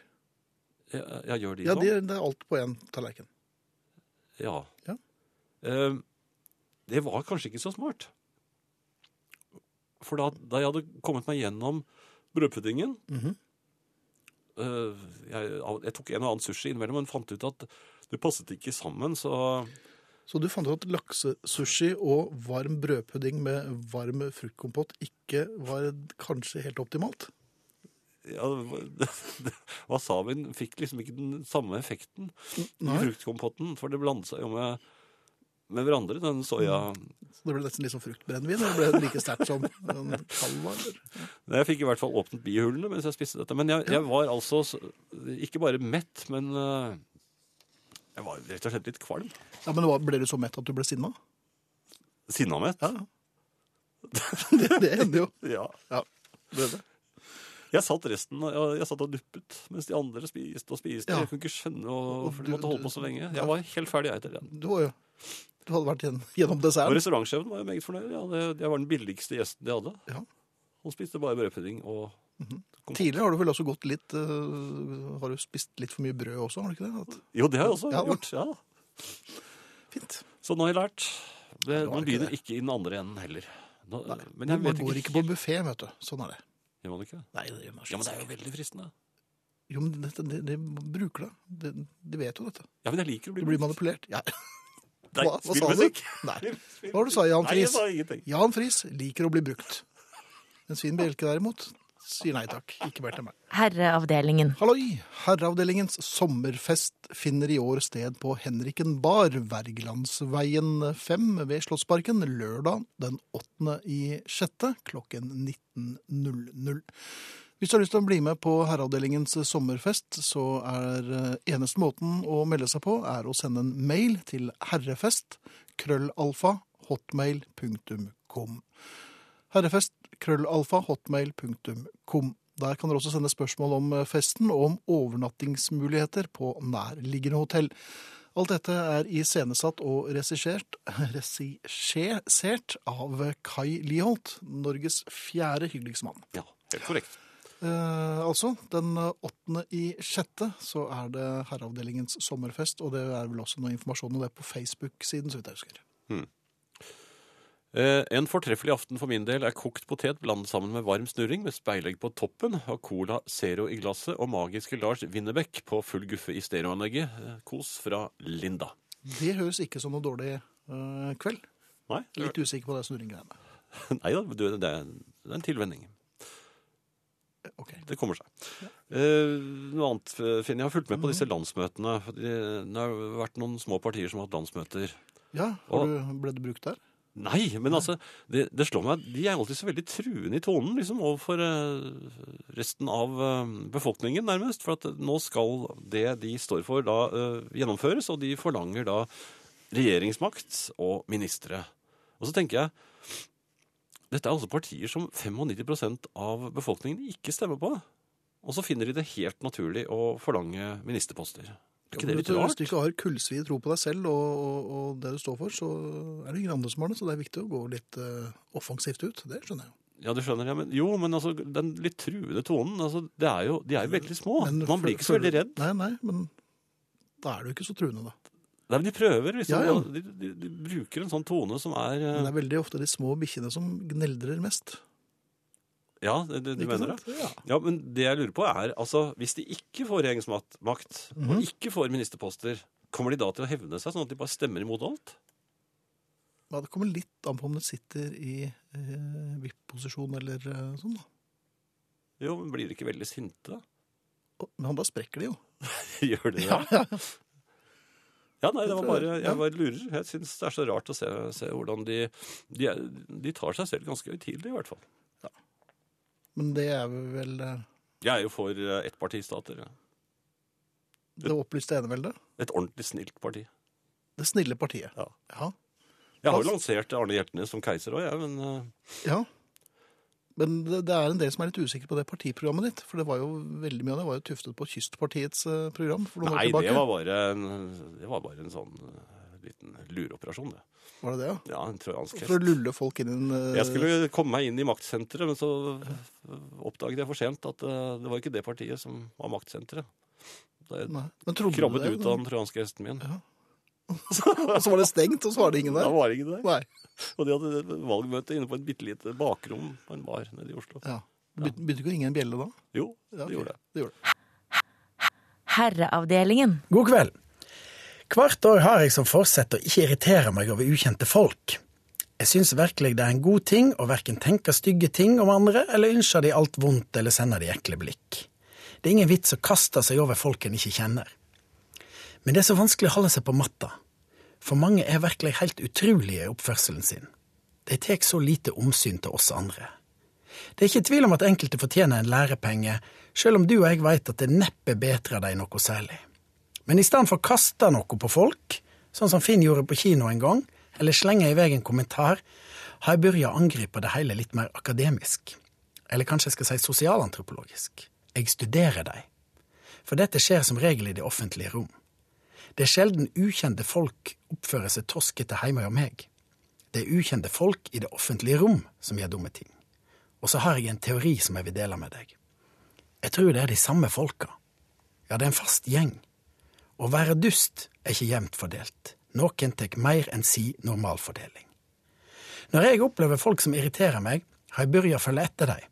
[SPEAKER 2] Jeg, jeg gjør de
[SPEAKER 1] Ja,
[SPEAKER 2] nå.
[SPEAKER 1] det, det er alt på én tallerken.
[SPEAKER 2] Ja.
[SPEAKER 1] Ja.
[SPEAKER 2] Eh, det var kanskje ikke så smart. For da, da jeg hadde kommet meg gjennom brødpuddingen
[SPEAKER 1] Mhm.
[SPEAKER 2] eh, jeg, jeg tok en og annen sushi innimellom, men fant ut at det passet ikke sammen, så
[SPEAKER 1] Så du fant ut at laksesushi og varm brødpudding med varm fruktkompott ikke var kanskje helt optimalt?
[SPEAKER 2] ja, det var- Wasabien fikk liksom ikke den samme effekten i
[SPEAKER 1] Nei,
[SPEAKER 2] fruktkompotten, for det blandet seg jo med, med hverandre, den soya.
[SPEAKER 1] så det ble nesten litt som fruktbrennevin. og Det ble like sterkt som en kald var. eller?
[SPEAKER 2] Jeg fikk i hvert fall åpnet bihulene mens jeg spiste dette. Men jeg, jeg var altså s- ikke bare mett, men eh, jeg var rett og slett litt kvalm.
[SPEAKER 1] Ja, men hva- Ble du så mett at du ble sinna?
[SPEAKER 2] Sinnamett.
[SPEAKER 1] Ja. [laughs] Det, det hender jo.
[SPEAKER 2] Ja.
[SPEAKER 1] Ja, det er det.
[SPEAKER 2] Jeg satt resten, jeg, jeg satt og duppet mens de andre spiste og spiste.
[SPEAKER 1] Ja.
[SPEAKER 2] Jeg kunne ikke skjønne
[SPEAKER 1] Og
[SPEAKER 2] hvorfor de
[SPEAKER 1] du-
[SPEAKER 2] måtte holde på så lenge. Jeg var helt ferdig jeg, etter den.
[SPEAKER 1] Du, var jo, du hadde vært igjen, gjennom
[SPEAKER 2] Og
[SPEAKER 1] desserten.
[SPEAKER 2] restaurantsjefen var jo meget fornøyd. Ja, det, jeg var den billigste gjesten de hadde.
[SPEAKER 1] Ja. Mhm.
[SPEAKER 2] Han spiste bare brødpudding og kompott.
[SPEAKER 1] Tidligere har du vel også gått litt øh, Har du spist litt for mye brød også, har du ikke det?
[SPEAKER 2] Jo, det har jeg også
[SPEAKER 1] Ja, da.
[SPEAKER 2] gjort. ja.
[SPEAKER 1] At, fint.
[SPEAKER 2] Så nå har jeg lært. Det,
[SPEAKER 1] det var
[SPEAKER 2] man
[SPEAKER 1] ikke
[SPEAKER 2] begynner
[SPEAKER 1] det.
[SPEAKER 2] ikke i den andre enden heller. Nå, men jeg
[SPEAKER 1] Man
[SPEAKER 2] vet
[SPEAKER 1] går ikke
[SPEAKER 2] ikke,
[SPEAKER 1] på buffé, vet du. Sånn er det.
[SPEAKER 2] Gjør man ikke?
[SPEAKER 1] Nei, det gjør man
[SPEAKER 2] Ja, men det er
[SPEAKER 1] ikke.
[SPEAKER 2] jo veldig fristende.
[SPEAKER 1] Jo, men dette, det, det bruker det. det. De vet jo dette.
[SPEAKER 2] Ja, men jeg liker å bli
[SPEAKER 1] Du blir manipulert. Ja.
[SPEAKER 2] Nei,
[SPEAKER 1] Hva- hva
[SPEAKER 2] spill
[SPEAKER 1] sa du?
[SPEAKER 2] musikk. [laughs]
[SPEAKER 1] Nei.
[SPEAKER 2] Spill-
[SPEAKER 1] Hva var det du sa, Jan
[SPEAKER 2] Nei, jeg
[SPEAKER 1] Friis?
[SPEAKER 2] sa ingenting.
[SPEAKER 1] Jan Friis liker å bli brukt. En Svin Bjelke derimot, Sier nei takk. Ikke mer til meg.
[SPEAKER 3] Herreavdelingen.
[SPEAKER 1] Halloi! Herreavdelingens sommerfest finner i år sted på Henriken bar, Wergelandsveien 5 ved Slottsparken, lørdag den 8. i 6. klokken 19.00. Hvis du har lyst til å bli med på Herreavdelingens sommerfest, så er eh, eneste måten å melde seg på, er å sende en mail til herrefest, krøllalfa, hotmail.com. Herrefest, krøllalfa, hotmail.com. Der kan dere også sende spørsmål om eh, festen og om overnattingsmuligheter på nærliggende hotell. Alt dette er iscenesatt og regissert, [laughs] regissert av Kai Liholt, Norges fjerde hyggeligste mann.
[SPEAKER 2] Ja, helt korrekt.
[SPEAKER 1] Eh, altså, den åttende i sjette så er det Herreavdelingens sommerfest, og det er vel også noe informasjon om det på Facebook-siden, så vidt jeg husker.
[SPEAKER 2] Eh, en fortreffelig aften for min del er kokt potet blandet sammen med varm snurring med speilegg på toppen og Cola Zero i glasset og magiske Lars Winnebeck på full guffe i stereoanlegget. Eh, kos fra Linda.
[SPEAKER 1] Det høres ikke som noe dårlig eh, kveld.
[SPEAKER 2] Nei,
[SPEAKER 1] Litt usikker på det snurringgreiene.
[SPEAKER 2] Nei da, du, det, er, det er en tilvenning.
[SPEAKER 1] Ok.
[SPEAKER 2] Det kommer seg. Eh, noe annet, eh, Finn. Jeg har fulgt med på disse landsmøtene. Det, det har vært noen små partier som har hatt landsmøter.
[SPEAKER 1] Ja, har du, ble det brukt der?
[SPEAKER 2] Nei, men altså, det, det slår meg at de er alltid så veldig truende i tonen liksom, overfor eh, resten av eh, befolkningen, nærmest. For at eh, nå skal det de står for, da eh, gjennomføres, og de forlanger da regjeringsmakt og ministre. Og så tenker jeg dette er altså partier som 95 av befolkningen ikke stemmer på. Og så finner de det helt naturlig å forlange ministerposter. Er ikke det
[SPEAKER 1] Vet
[SPEAKER 2] litt
[SPEAKER 1] du, Hvis
[SPEAKER 2] rart?
[SPEAKER 1] du ikke har kullsvid tro på deg selv og, og, og det du står for, så er det ingen andre som har det. Så det er viktig å gå litt eh, offensivt ut. Det skjønner jeg jo.
[SPEAKER 2] Ja, det skjønner jeg. Men, jo, men altså, den litt truende tonen altså, det er jo, De er jo veldig små.
[SPEAKER 1] Men
[SPEAKER 2] Man blir
[SPEAKER 1] føl-
[SPEAKER 2] ikke så veldig
[SPEAKER 1] føler-
[SPEAKER 2] redd.
[SPEAKER 1] Nei, nei, men da er du ikke så truende, da.
[SPEAKER 2] Nei, men De prøver, liksom.
[SPEAKER 1] Ja, ja.
[SPEAKER 2] De, de, de bruker en sånn tone som er eh,
[SPEAKER 1] Men det er veldig ofte de små bikkjene som gneldrer mest.
[SPEAKER 2] Ja, det, det, du
[SPEAKER 1] Ikke
[SPEAKER 2] mener det?
[SPEAKER 1] sant? Ja.
[SPEAKER 2] Ja, men det jeg lurer på er, altså, hvis de ikke får regjeringsmakt makt,
[SPEAKER 1] Mhm.
[SPEAKER 2] og ikke får ministerposter, kommer de da til å hevne seg, sånn at de bare stemmer imot alt?
[SPEAKER 1] ja, Det kommer litt an på om du sitter i eh, VIP-posisjon eller eh, sånn, da.
[SPEAKER 2] Jo, men blir de ikke veldig sinte? [laughs]
[SPEAKER 1] Og- Men da sprekker de jo.
[SPEAKER 2] Gjør de det? [laughs] Ja, nei, det
[SPEAKER 1] Jeg
[SPEAKER 2] var
[SPEAKER 1] tror det.
[SPEAKER 2] bare,
[SPEAKER 1] Ja.
[SPEAKER 2] jeg bare lurer. Jeg syns det er så rart å se, se hvordan de, de er- De tar seg selv ganske høytidelig, i hvert fall.
[SPEAKER 1] Men det er vel eh,
[SPEAKER 2] Jeg er jo for eh, ettpartistater. Ja.
[SPEAKER 1] det opplyste eneveldet.
[SPEAKER 2] Et ordentlig snilt parti.
[SPEAKER 1] Det snille partiet.
[SPEAKER 2] Ja.
[SPEAKER 1] Ja.
[SPEAKER 2] Jeg har
[SPEAKER 1] Fast-
[SPEAKER 2] jo lansert Arne Hjertnes som keiser òg, jeg, men eh,
[SPEAKER 1] Ja. Men det, det er en del som er litt usikre på det partiprogrammet ditt. For det var jo veldig mye av det var jo tuftet på Kystpartiets eh, program for noen
[SPEAKER 2] Nei,
[SPEAKER 1] år tilbake.
[SPEAKER 2] det var bare en, det var bare en sånn eh, liten lureoperasjon, det.
[SPEAKER 1] var... det det, ja?
[SPEAKER 2] Ja, en trojansk
[SPEAKER 1] For å
[SPEAKER 2] hest.
[SPEAKER 1] lulle folk inn i en eh,
[SPEAKER 2] Jeg skulle komme meg inn i maktsenteret, men så eh, oppdaget jeg for sent at eh, det var ikke det partiet som var maktsenteret. Da jeg
[SPEAKER 1] Nei. Men trodde du
[SPEAKER 2] krabbet
[SPEAKER 1] det?
[SPEAKER 2] ut av den trojanske hesten min.
[SPEAKER 1] [laughs] Og så var det stengt, og så var det ingen
[SPEAKER 2] Da
[SPEAKER 1] der?
[SPEAKER 2] var det ikke det.
[SPEAKER 1] Nei.
[SPEAKER 2] Og de hadde valgmøte inne på et bitte lite bakrom på en bar nede i Oslo.
[SPEAKER 1] Ja. Begynte begynte ikke å ringe en bjelle da?
[SPEAKER 2] Jo,
[SPEAKER 1] Ja,
[SPEAKER 2] det
[SPEAKER 1] ok.
[SPEAKER 2] gjorde det.
[SPEAKER 1] Det gjorde det.
[SPEAKER 3] Herreavdelingen.
[SPEAKER 5] God kveld. Hvert år har jeg som forsett å ikke irritere meg over ukjente folk. Jeg syns virkelig det er en god ting å verken tenke stygge ting om andre, eller ønsker de alt vondt eller sender de ekle blikk. Det er ingen vits å kaste seg over folk en ikke kjenner. Men det er så vanskelig å holde seg på matta. For mange er virkelig helt utrolige i oppførselen sin. De tar så lite omsyn til oss andre. Det er ikke tvil om at enkelte fortjener en lærepenge, selv om du og jeg vet at det neppe bedrer deg noe særlig. Men i stedet for å kaste noe på folk, sånn som Finn gjorde på kino en gang, eller slenge i vei en kommentar, har jeg begynt å angripe det hele litt mer akademisk. Eller kanskje jeg skal si sosialantropologisk. Jeg studerer dem. For dette skjer som regel i det offentlige rom. Det er sjelden ukjente folk oppfører seg toskete hjemme hos meg. Det er ukjente folk i det offentlige rom som gjør dumme ting. Og så har jeg en teori som jeg vil dele med deg. Jeg tror det er de samme folka. Ja, det er en fast gjeng. Å være dust er ikke jevnt fordelt. Noen tar mer enn si normalfordeling. Når jeg opplever folk som irriterer meg, har jeg begynt å følge etter dem.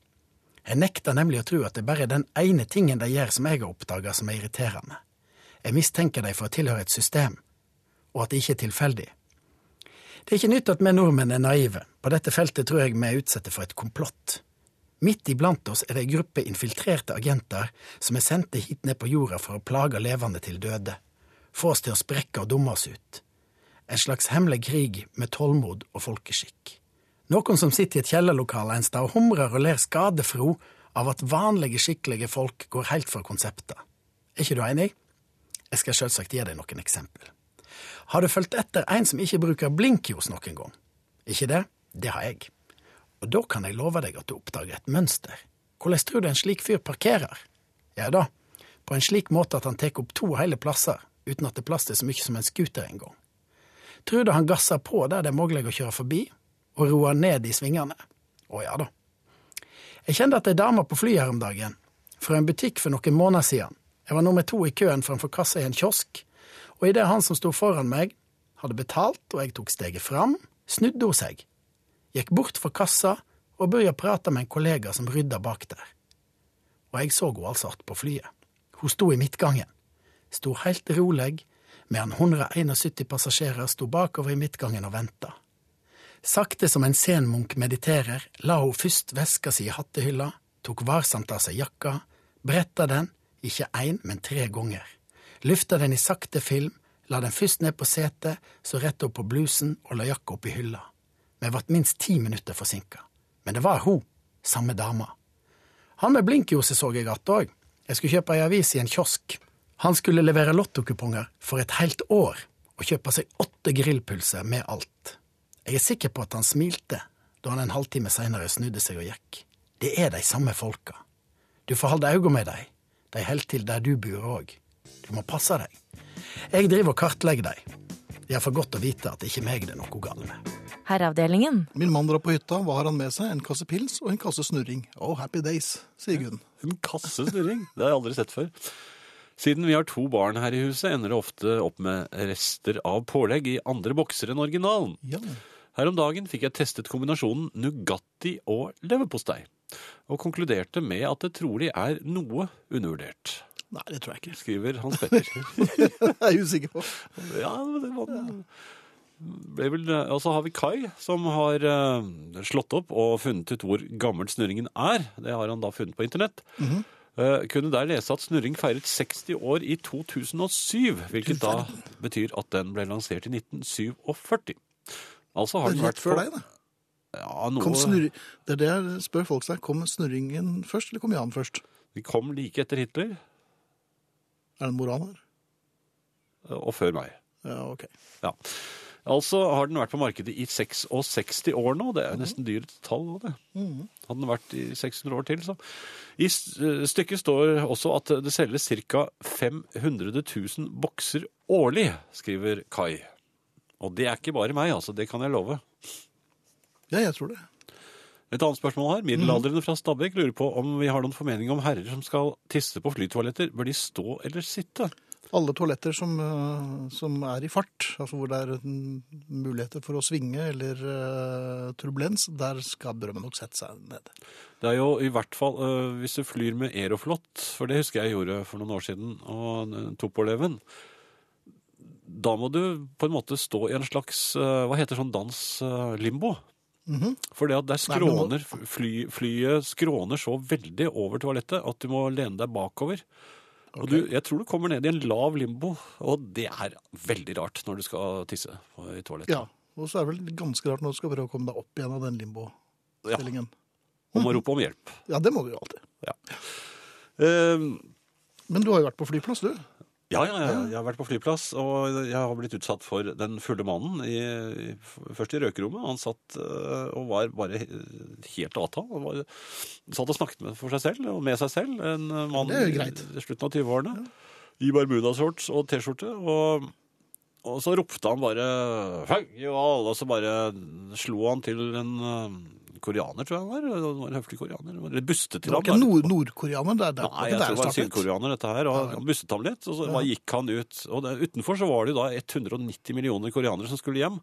[SPEAKER 5] Jeg nekter nemlig å tro at det bare er den ene tingen de gjør som jeg har oppdaga som er irriterende. Jeg mistenker dem for å tilhøre et system, og at det ikke er tilfeldig. Det er ikke nytt at vi nordmenn er naive. På dette feltet tror jeg vi er utsatte for et komplott. Midt iblant oss er det ei gruppe infiltrerte agenter som er sendte hit ned på jorda for å plage levende til døde, få oss til å sprekke og dumme oss ut. En slags hemmelig krig med tålmod og folkeskikk. Noen som sitter i et kjellerlokale en stad og humrer og ler skadefro av at vanlige, skikkelige folk går helt for konseptet. Er ikke du enig? Jeg skal selvsagt gi deg noen eksempel. Har du fulgt etter en som ikke bruker blinklys noen gang? Ikke det? Det har jeg. Og da kan jeg love deg at du oppdager et mønster. Hvordan tror du en slik fyr parkerer? Ja da, på en slik måte at han tar opp to hele plasser, uten at det er plass til så mye som en scooter engang. Tror du han gasser på der det er mulig å kjøre forbi, og roer ned i svingene? Å ja da. Jeg kjente at ei dame på flyet her om dagen, fra en butikk for noen måneder siden. Jeg var nummer to i køen framfor kassa i en kiosk, og idet han som sto foran meg, hadde betalt og jeg tok steget fram, snudde hun seg, gikk bort fra kassa og begynte å prate med en kollega som rydda bak der. Og jeg så henne altså att på flyet. Hun sto i midtgangen. Sto helt rolig, medan 171 passasjerer sto bakover i midtgangen og venta. Sakte som en senmunk mediterer, la hun først veska si i hattehylla, tok varsomt av seg jakka, bretta den, ikke én, men tre ganger. Løfta den i sakte film, la den først ned på setet, så rett opp på blusen og la jakka opp i hylla. Vi vart minst ti minutter forsinka. Men det var hun, samme dama. Han med blinkjoset så jeg att òg. Jeg skulle kjøpe ei avis i en kiosk. Han skulle levere lottokuponger for et helt år og kjøpe seg åtte grillpølser med alt. Jeg er sikker på at han smilte da han en halvtime seinere snudde seg og gikk. Det er de samme folka. Du får holde øye med dem. De holder til der du bor òg. Du må passe deg. Jeg driver og kartlegger dem. De er for godt å vite at det ikke er meg det er noe galt med.
[SPEAKER 3] Herreavdelingen.
[SPEAKER 1] Min mann drar på hytta, hva har han med seg? En kasse pils og en kasse snurring. Oh, happy days, sier Gunn.
[SPEAKER 2] En kassesnurring. Det har jeg aldri sett før. Siden vi har to barn her i huset, ender det ofte opp med rester av pålegg i andre bokser enn originalen.
[SPEAKER 1] Ja.
[SPEAKER 2] Her om dagen fikk jeg testet kombinasjonen Nugatti og leverpostei, og konkluderte med at det trolig er noe undervurdert,
[SPEAKER 1] Nei, det tror jeg ikke. [laughs]
[SPEAKER 2] skriver Hans Petter.
[SPEAKER 1] Det er jeg usikker på.
[SPEAKER 2] ja, det var ble vel, eh, og så har vi Kai, som har eh, slått opp og funnet ut hvor gammel snurringen er. Det har han da funnet på internett.
[SPEAKER 1] Mhm.
[SPEAKER 2] Eh, kunne der lese at snurring feiret 60 år i 2007, hvilket da betyr at den ble lansert i 1947. Altså har den vært
[SPEAKER 1] Rett før
[SPEAKER 2] på-
[SPEAKER 1] deg, da.
[SPEAKER 2] Ja, noe,
[SPEAKER 1] Kom snurri... Det er det jeg spør folk seg. Kom snurringen først, eller kom Jan først?
[SPEAKER 2] De kom like etter Hitler,
[SPEAKER 1] Er det en moral her?
[SPEAKER 2] eh, og før meg.
[SPEAKER 1] Ja, ok.
[SPEAKER 2] Ja. Altså har den vært på markedet i 66 år nå. Det er jo nesten dyrt tall. også, Det. Hadde den vært i 600 år til, så. I s- eh, stykket står også at det selges ca. 500 000 bokser årlig, skriver Kai. Og det er ikke bare meg, altså. Det kan jeg love.
[SPEAKER 1] Ja, jeg tror det.
[SPEAKER 2] Et annet spørsmål her. Middelaldrende fra Stabekk lurer på om vi har noen formening om herrer som skal tisse på flytoaletter. Bør de stå eller sitte?
[SPEAKER 1] Alle toaletter som, øh, som er i fart, altså hvor det er mm, muligheter for å svinge eller øh, turbulens, der skal drømmen nok sette seg ned.
[SPEAKER 2] Det er jo i hvert fall øh, hvis du flyr med Aeroflot, for det husker jeg gjorde for noen år siden, og øh, tok på leven. Da må du på en måte stå i en slags øh, hva heter sånn dans øh, limbo.
[SPEAKER 1] Mhm.
[SPEAKER 2] For det at der
[SPEAKER 1] Nei, men nå-
[SPEAKER 2] skråner fly, flyet skråner så veldig over toalettet at du må lene deg bakover. Og du, jeg tror du kommer ned i en lav limbo, og det er veldig rart når du skal tisse i toalettet.
[SPEAKER 1] Ja, og så er det vel ganske rart når du skal prøve å komme deg opp igjen av den limbo-stillingen.
[SPEAKER 2] Og må rope om hjelp.
[SPEAKER 1] Ja. det må du jo alltid.
[SPEAKER 2] Ehm,
[SPEAKER 1] Men du har jo vært på flyplass, du.
[SPEAKER 2] Ja, ja, ja, jeg har vært på flyplass, og jeg har blitt utsatt for den fulle mannen. I, i- først i røkerommet. Han satt øh, og var bare he- helt avta. Han var, satt og snakket med, for seg selv og med seg selv. En øh, mann
[SPEAKER 1] Det er jo
[SPEAKER 2] i
[SPEAKER 1] greit.
[SPEAKER 2] i slutten av 20-årene. I bermudashorts og T-skjorte. Og, og så ropte han bare «Fuck you all!» Og så bare slo han til en øh, koreaner, tror jeg han var. Det var En høflig koreaner. Eller bustet
[SPEAKER 1] Det
[SPEAKER 2] til
[SPEAKER 1] var
[SPEAKER 2] ham.
[SPEAKER 1] ikke
[SPEAKER 2] da.
[SPEAKER 1] nord nordkoreaner. Det er der,
[SPEAKER 2] Nei,
[SPEAKER 1] det er
[SPEAKER 2] jeg
[SPEAKER 1] der
[SPEAKER 2] tror det var
[SPEAKER 1] startet.
[SPEAKER 2] sydkoreaner dette her, og han busset ham litt, og så bare gikk han ut. Og der, utenfor så var det jo da 190 millioner koreanere
[SPEAKER 1] Mhm.
[SPEAKER 2] som skulle hjem,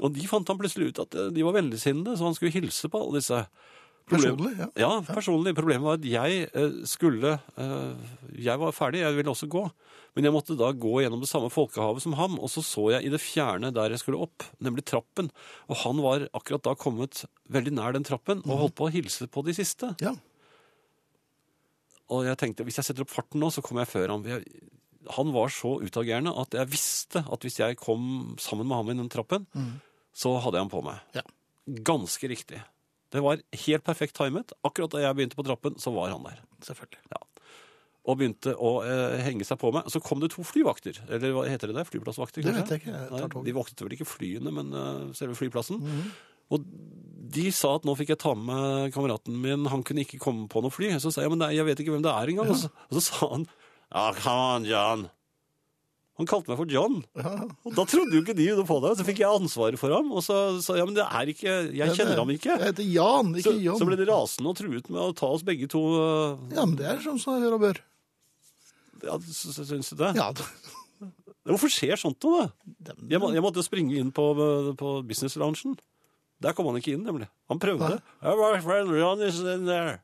[SPEAKER 2] og de fant han plutselig ut at eh, de var vennligsinnede, så han skulle hilse på alle disse. Problem-
[SPEAKER 1] Personlig, ja.
[SPEAKER 2] Ja, personlig. Problemet var at jeg eh, skulle eh, Jeg var ferdig, jeg ville også gå. Men jeg måtte da gå gjennom det samme folkehavet som ham, og så så jeg i det fjerne der jeg skulle opp, nemlig trappen. Og han var akkurat da kommet veldig nær den trappen og holdt på å hilse på de siste.
[SPEAKER 1] ja.
[SPEAKER 2] Og jeg tenkte, hvis jeg setter opp farten nå, så kommer jeg før ham. Jeg, han var så utagerende at jeg visste at hvis jeg kom sammen med ham i den trappen, så hadde jeg ham på meg.
[SPEAKER 1] Ja.
[SPEAKER 2] Ganske riktig. Det var helt perfekt timet. Akkurat da jeg begynte på trappen, så var han der.
[SPEAKER 1] Selvfølgelig.
[SPEAKER 2] Og begynte å eh, henge seg på meg. Så kom det to flyvakter. Eller hva heter det der? Flyplassvakter?
[SPEAKER 1] Det
[SPEAKER 2] kanskje?
[SPEAKER 1] vet jeg ikke. Jeg tar Mhm.
[SPEAKER 2] Nei,
[SPEAKER 1] tog.
[SPEAKER 2] de voktet vel ikke flyene, men eh, selve flyplassen. Og de sa at nå fikk jeg ta med kameraten min, han kunne ikke komme på noe fly. Så sa jeg, men det er- jeg vet ikke hvem det er engang. Og, så, og så sa han, ja, come on, John. Han kalte meg for John. Og da trodde jo ikke de noe på det. Så fikk jeg ansvaret for ham, og så sa jeg, men det er ikke, jeg kjenner ham
[SPEAKER 1] Jeg
[SPEAKER 2] ikke.
[SPEAKER 1] heter Jan,
[SPEAKER 2] Så,
[SPEAKER 1] ikke John.
[SPEAKER 2] så ble de rasende og truet med å ta oss begge to. eh,
[SPEAKER 1] Ja, men det er sånn som jeg hører og bør.
[SPEAKER 2] Ja, sy- sy- syns du det?
[SPEAKER 1] Ja, [laughs] da.
[SPEAKER 2] Hvorfor skjer sånt noe, da?
[SPEAKER 1] Det-
[SPEAKER 2] Jeg, må, jeg måtte springe inn på, på business-loungen. Der kom han ikke inn, nemlig. Han prøvde. «Oh, my friend Ron is in there.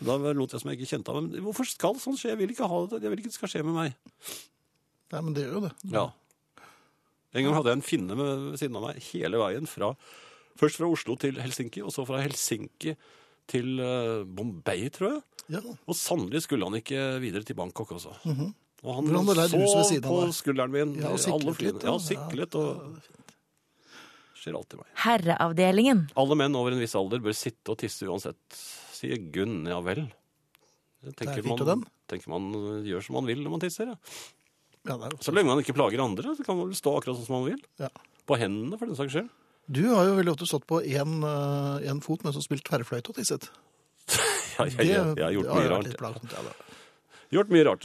[SPEAKER 2] Da lot jeg som jeg ikke kjente ham. Men hvorfor skal sånt skje? Jeg vil ikke ha det. Jeg vil ikke det skal skje med meg.
[SPEAKER 1] Nei, men det gjør jo det.
[SPEAKER 2] Ja. En gang hadde jeg en finne med, ved siden av meg hele veien. Fra, først fra Oslo til Helsinki, og så fra Helsinki til eh, Bombay, tror jeg.
[SPEAKER 1] Ja.
[SPEAKER 2] Og sannelig skulle han ikke videre til Bangkok også. Og han
[SPEAKER 1] Mhm. Hvordan det der
[SPEAKER 2] så
[SPEAKER 1] huset ved siden av
[SPEAKER 2] på
[SPEAKER 1] der.
[SPEAKER 2] skulderen min
[SPEAKER 1] Ja, og
[SPEAKER 2] alle
[SPEAKER 1] siklet
[SPEAKER 2] flyene.
[SPEAKER 1] litt,
[SPEAKER 2] Ja,
[SPEAKER 1] da.
[SPEAKER 2] siklet og Skjer alltid meg.
[SPEAKER 3] Herreavdelingen.
[SPEAKER 2] Alle menn over en viss alder bør sitte og tisse uansett, sier Gunn. Ja vel. Jeg
[SPEAKER 1] Der
[SPEAKER 2] Tenker
[SPEAKER 1] fikk du
[SPEAKER 2] man,
[SPEAKER 1] den.
[SPEAKER 2] tenker man eh, gjør som man vil når man tisser. Ja.
[SPEAKER 1] ja det er
[SPEAKER 2] Så
[SPEAKER 1] jo.
[SPEAKER 2] lenge man ikke plager andre, så kan man vel stå akkurat sånn som man vil.
[SPEAKER 1] Ja.
[SPEAKER 2] På hendene, for den saks skyld.
[SPEAKER 1] Du har jo veldig ofte stått på én eh, én fot, men så spilt tverrfløyte og tisset.
[SPEAKER 2] Ja, jeg, jeg, jeg har gjort mye
[SPEAKER 1] vært
[SPEAKER 2] rart.
[SPEAKER 1] litt plagsomt, ja, det.
[SPEAKER 2] Gjort mye rart.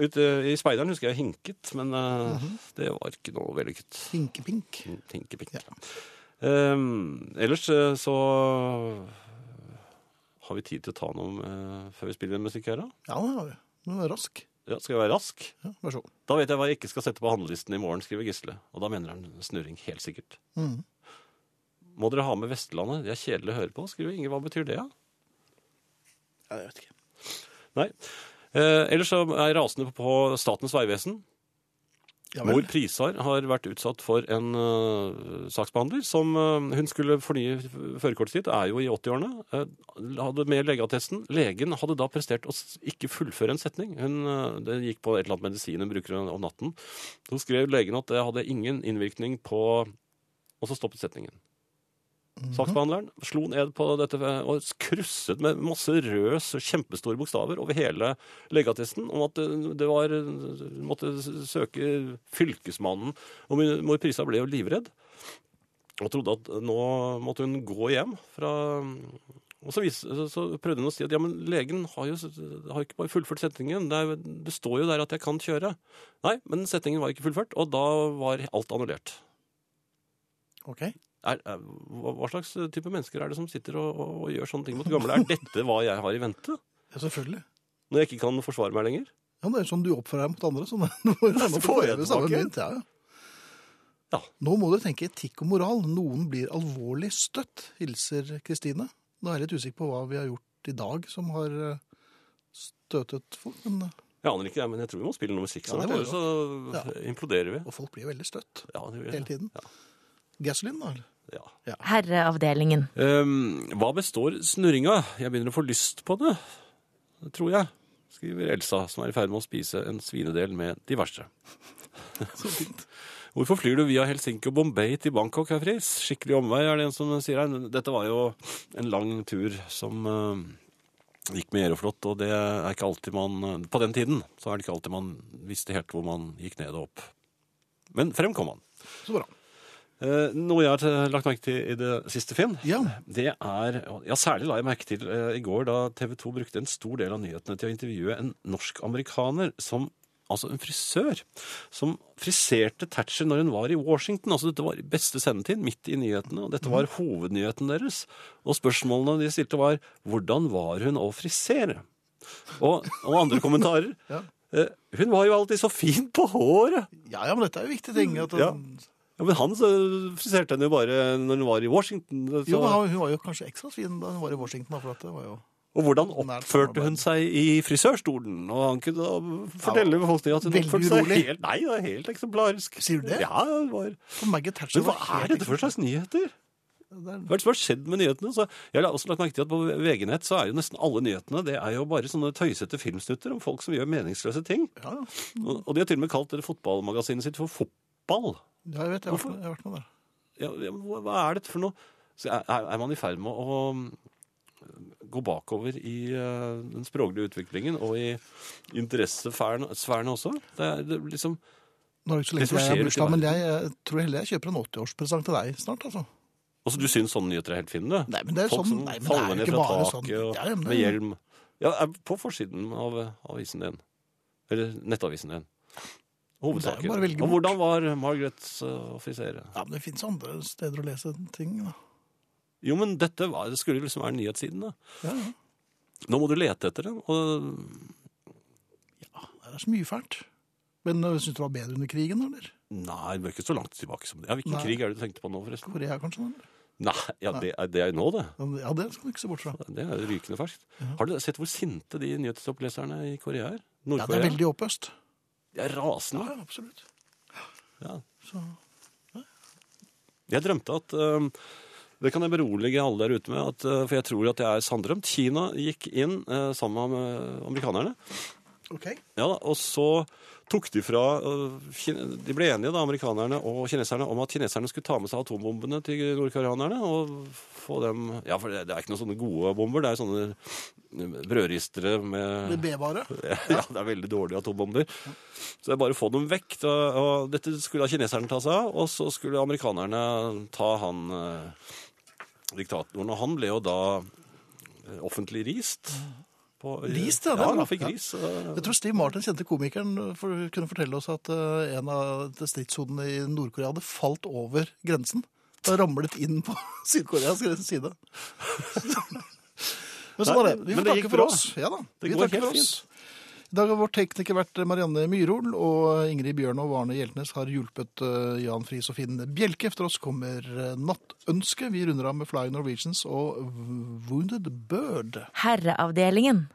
[SPEAKER 2] Ute I speideren husker jeg hinket, men eh,
[SPEAKER 1] Mhm.
[SPEAKER 2] det var ikke noe vellykket.
[SPEAKER 1] Hinkepink.
[SPEAKER 2] Tinkepikk.
[SPEAKER 1] Ja.
[SPEAKER 2] Ehm, ellers eh, så har vi tid til å ta noe om, eh, før vi spiller musikk her, da.
[SPEAKER 1] Ja, det har vi. Men rask.
[SPEAKER 2] Ja, skal jeg være rask?
[SPEAKER 1] Ja, vær så god.
[SPEAKER 2] Da vet jeg hva jeg ikke skal sette på handlelisten i morgen, skriver Gisle. Og da mener han snurring, helt sikkert.
[SPEAKER 1] Mhm.
[SPEAKER 2] Må dere ha med Vestlandet? De er kjedelige å høre på, skriver Inge. Hva betyr det, da?
[SPEAKER 1] Ja, jeg vet ikke.
[SPEAKER 2] Nei. Eh, ellers så er jeg rasende på Statens vegvesen.
[SPEAKER 1] Ja, vel.
[SPEAKER 2] Mor Prisar har vært utsatt for en øh, saksbehandler som øh, hun skulle fornye f- førerkortet sitt, er jo i 80-årene. øh, hadde med legeattesten. Legen hadde da prestert å s- ikke fullføre en setning. Hun øh, det gikk på et eller annet medisin hun bruker om natten. Så skrev legen at det hadde ingen innvirkning på Og så stoppet setningen.
[SPEAKER 1] Mhm.
[SPEAKER 2] Saksbehandleren slo en ed på dette eh, og krysset med masse røde, kjempestore bokstaver over hele legeattesten om at det- det var måtte søke fylkesmannen. Og min- mor Prisa ble jo livredd og trodde at nå måtte hun gå hjem fra og så, vis, så prøvde hun å si at ja, men legen har jo har ikke bare fullført setningen. Det, er, jo- det står jo der at jeg kan kjøre. Nei, men setningen var ikke fullført, og da var alt annullert.
[SPEAKER 1] Ok.
[SPEAKER 2] Er, er, hva hva slags type mennesker er det som sitter og, og, og gjør sånne ting mot gamle? Er dette hva jeg har i vente?
[SPEAKER 1] Ja, selvfølgelig.
[SPEAKER 2] Når jeg ikke kan forsvare meg lenger?
[SPEAKER 1] Ja, det er sånn du oppfører deg mot andre. Sånn, [laughs] du må jo
[SPEAKER 2] Så får jeg
[SPEAKER 1] prøve samme
[SPEAKER 2] tilbake.
[SPEAKER 1] mynt, ja, ja.
[SPEAKER 2] Ja.
[SPEAKER 1] Nå må dere tenke etikk og moral. Noen blir alvorlig støtt, hilser Kristine. Da er jeg litt usikker på hva vi har gjort i dag som har eh, støtet folk. Men, eh,
[SPEAKER 2] Jeg aner ikke, jeg, men jeg tror vi må spille noe musikk.
[SPEAKER 1] Ja,
[SPEAKER 2] Sånn
[SPEAKER 1] det
[SPEAKER 2] at
[SPEAKER 1] må
[SPEAKER 2] bare
[SPEAKER 1] vi
[SPEAKER 2] så imploderer vi.
[SPEAKER 1] og folk blir veldig støtt
[SPEAKER 2] Ja, det gjør
[SPEAKER 1] hele
[SPEAKER 2] det.
[SPEAKER 1] tiden.
[SPEAKER 2] Ja.
[SPEAKER 1] Gasoline, da? eller?
[SPEAKER 2] Ja.
[SPEAKER 3] Herreavdelingen.
[SPEAKER 2] Ehm, hva består snurringa? Jeg begynner å få lyst på det, det tror jeg, skriver Elsa, som er i ferd med å spise en svinedel med de verste.
[SPEAKER 1] [laughs] Så fint.
[SPEAKER 2] Hvorfor flyr du via Helsinki og Bombay til Bangkok, herr Friis? Skikkelig omvei, er det en som sier her. Dette var jo en lang tur som eh, gikk med Aeroflot, og det er ikke alltid man På den tiden så er det ikke alltid man visste helt hvor man gikk ned og opp. Men frem kom han.
[SPEAKER 1] Så bra.
[SPEAKER 2] Eh, Noe jeg har eh, lagt merke til i det siste, Finn,
[SPEAKER 1] Ja.
[SPEAKER 2] det er Ja, særlig la jeg merke til eh, i går da TV 2 brukte en stor del av nyhetene til å intervjue en norsk-amerikaner som Altså en frisør som friserte Thatcher når hun var i Washington. Altså Dette var i beste sendetid, midt i nyhetene, og dette var
[SPEAKER 1] Mm.
[SPEAKER 2] hovednyheten deres. Og spørsmålene de stilte, var 'Hvordan var hun å frisere?' Og, og
[SPEAKER 1] [laughs]
[SPEAKER 2] andre kommentarer.
[SPEAKER 1] Ja.
[SPEAKER 2] eh, 'Hun var jo alltid så fin på håret'.
[SPEAKER 1] Ja, ja, men dette er jo viktige ting. At,
[SPEAKER 2] Ja. Ja, men han så friserte henne jo bare når hun var i Washington. Så.
[SPEAKER 1] Jo, men hun- hun var jo kanskje ekstra fin da hun var i Washington. da, For at det var jo...
[SPEAKER 2] Og hvordan
[SPEAKER 1] Nært
[SPEAKER 2] oppførte hun seg i frisørstolen? Og han kunne da fortelle befolkningen at hun
[SPEAKER 1] Veldig
[SPEAKER 2] oppførte seg
[SPEAKER 1] urolig.
[SPEAKER 2] helt, nei, det er helt eksemplarisk.
[SPEAKER 1] Sier du det?
[SPEAKER 2] Ja, det var.
[SPEAKER 1] For Maggie Thatcher
[SPEAKER 2] Men hva er dette for slags nyheter? Hva er det som har skjedd med nyhetene? Så jeg har også lagt merke til at på VG-nett så er jo nesten alle nyhetene det er jo bare sånne tøysete filmsnutter om folk som gjør meningsløse ting.
[SPEAKER 1] Ja, ja.
[SPEAKER 2] Og og de har til og med kalt det fotballmagasinet sitt for fotball.
[SPEAKER 1] Ja, jeg vet, jeg har, vært med, jeg har vært med der.
[SPEAKER 2] Ja, ja, men hva hva er dette for noe? Så er, er er man i ferd med å mm, gå bakover i eh, den språklige utviklingen og i interessesfærene sfærene også? Det er, det er liksom
[SPEAKER 1] Nå er det ikke så
[SPEAKER 2] Det
[SPEAKER 1] lenge
[SPEAKER 2] som
[SPEAKER 1] siden jeg
[SPEAKER 2] skjer
[SPEAKER 1] har
[SPEAKER 2] ute i
[SPEAKER 1] bursdag, men jeg, jeg tror heller jeg kjøper en 80-årspresang til deg snart, altså.
[SPEAKER 2] Altså, du syns sånne nyheter er helt fine, du?
[SPEAKER 1] Nei, men det er
[SPEAKER 2] Folk
[SPEAKER 1] sånn-
[SPEAKER 2] som
[SPEAKER 1] nei, men det er
[SPEAKER 2] faller
[SPEAKER 1] jo
[SPEAKER 2] ned
[SPEAKER 1] ikke
[SPEAKER 2] fra
[SPEAKER 1] bare
[SPEAKER 2] taket
[SPEAKER 1] sånn.
[SPEAKER 2] og
[SPEAKER 1] Ja, men det-
[SPEAKER 2] med hjelm. Ja, er på forsiden av eh, avisen din. Eller nettavisen din.
[SPEAKER 1] Det er jo
[SPEAKER 2] Hovedsaken.
[SPEAKER 1] bare å velge
[SPEAKER 2] Og
[SPEAKER 1] bort.
[SPEAKER 2] hvordan var Margarets uh, offisere?
[SPEAKER 1] Ja, men det finnes andre steder å lese ting, da.
[SPEAKER 2] Jo, men dette var, det skulle liksom være nyhetssidene.
[SPEAKER 1] Ja, ja.
[SPEAKER 2] Nå må du lete etter dem. Og
[SPEAKER 1] Det er så mye fælt. Men øh, synes du det var bedre under krigen, eller?
[SPEAKER 2] nei, det bør ikke så langt tilbake som det. Ja, hvilken
[SPEAKER 1] Nei.
[SPEAKER 2] krig er det du tenkte på nå, forresten?
[SPEAKER 1] Korea, kanskje? Eller?
[SPEAKER 2] Nei, ja, det, er, det er nå, det.
[SPEAKER 1] Men Ja, det skal du ikke se bort fra.
[SPEAKER 2] Det er rykende ferskt. Har du sett hvor sinte de nyhetsoppleserne i Korea er?
[SPEAKER 1] Ja, det
[SPEAKER 2] Nord-Korea?
[SPEAKER 1] er veldig oppøst.
[SPEAKER 2] de er rasende.
[SPEAKER 1] Ja, absolutt.
[SPEAKER 2] Ja.
[SPEAKER 1] Så,
[SPEAKER 2] Jeg drømte at øhm, Det kan jeg berolige alle der ute med, at, øh, for jeg tror at jeg er sanndrømt. Kina gikk inn øh, sammen med øh, amerikanerne.
[SPEAKER 1] ok.
[SPEAKER 2] Ja, da, og så tok de fra øh, Kine- De ble enige, da, amerikanerne og kineserne, om at kineserne skulle ta med seg atombombene til nordkoreanerne og få dem Ja, for det, det er ikke noen sånne gode bomber, det er sånne øh, brødristere med
[SPEAKER 1] Det B-vare.
[SPEAKER 2] [laughs] ja, det er veldig dårlige atombomber. Så det er bare å få dem vekk. Da, og dette skulle da kineserne ta seg av, og så skulle amerikanerne ta han eh, diktatoren. Og han ble jo da eh, offentlig rist. På,
[SPEAKER 1] Rist, ja, det er
[SPEAKER 2] Ja,
[SPEAKER 1] bra.
[SPEAKER 2] han fikk
[SPEAKER 1] Ja.
[SPEAKER 2] ris. eh,
[SPEAKER 1] Jeg tror Steve Martin, kjente komikeren, for, kunne fortelle oss at øh, en av stridshodene i Nord-Korea hadde falt over grensen. Da ramlet inn på [laughs] Syd-Koreas
[SPEAKER 2] [laughs]
[SPEAKER 1] side. Men sånn er det. Vi
[SPEAKER 2] men
[SPEAKER 1] får
[SPEAKER 2] det
[SPEAKER 1] takke
[SPEAKER 2] gikk
[SPEAKER 1] for
[SPEAKER 2] bra.
[SPEAKER 1] oss. Ja da,
[SPEAKER 2] Det
[SPEAKER 1] vi
[SPEAKER 2] går
[SPEAKER 1] takker for
[SPEAKER 2] helt
[SPEAKER 1] oss.
[SPEAKER 2] fint.
[SPEAKER 1] I dag har vår tekniker vært Marianne Myrhol, og Ingrid Bjørn og Arne Hjeltnes har hjulpet eh, Jan Friis og Finn Bjelke. Etter oss kommer eh, Nattønske. Vi runder av med Fly Norwegians og Wounded Bird.
[SPEAKER 3] Herreavdelingen.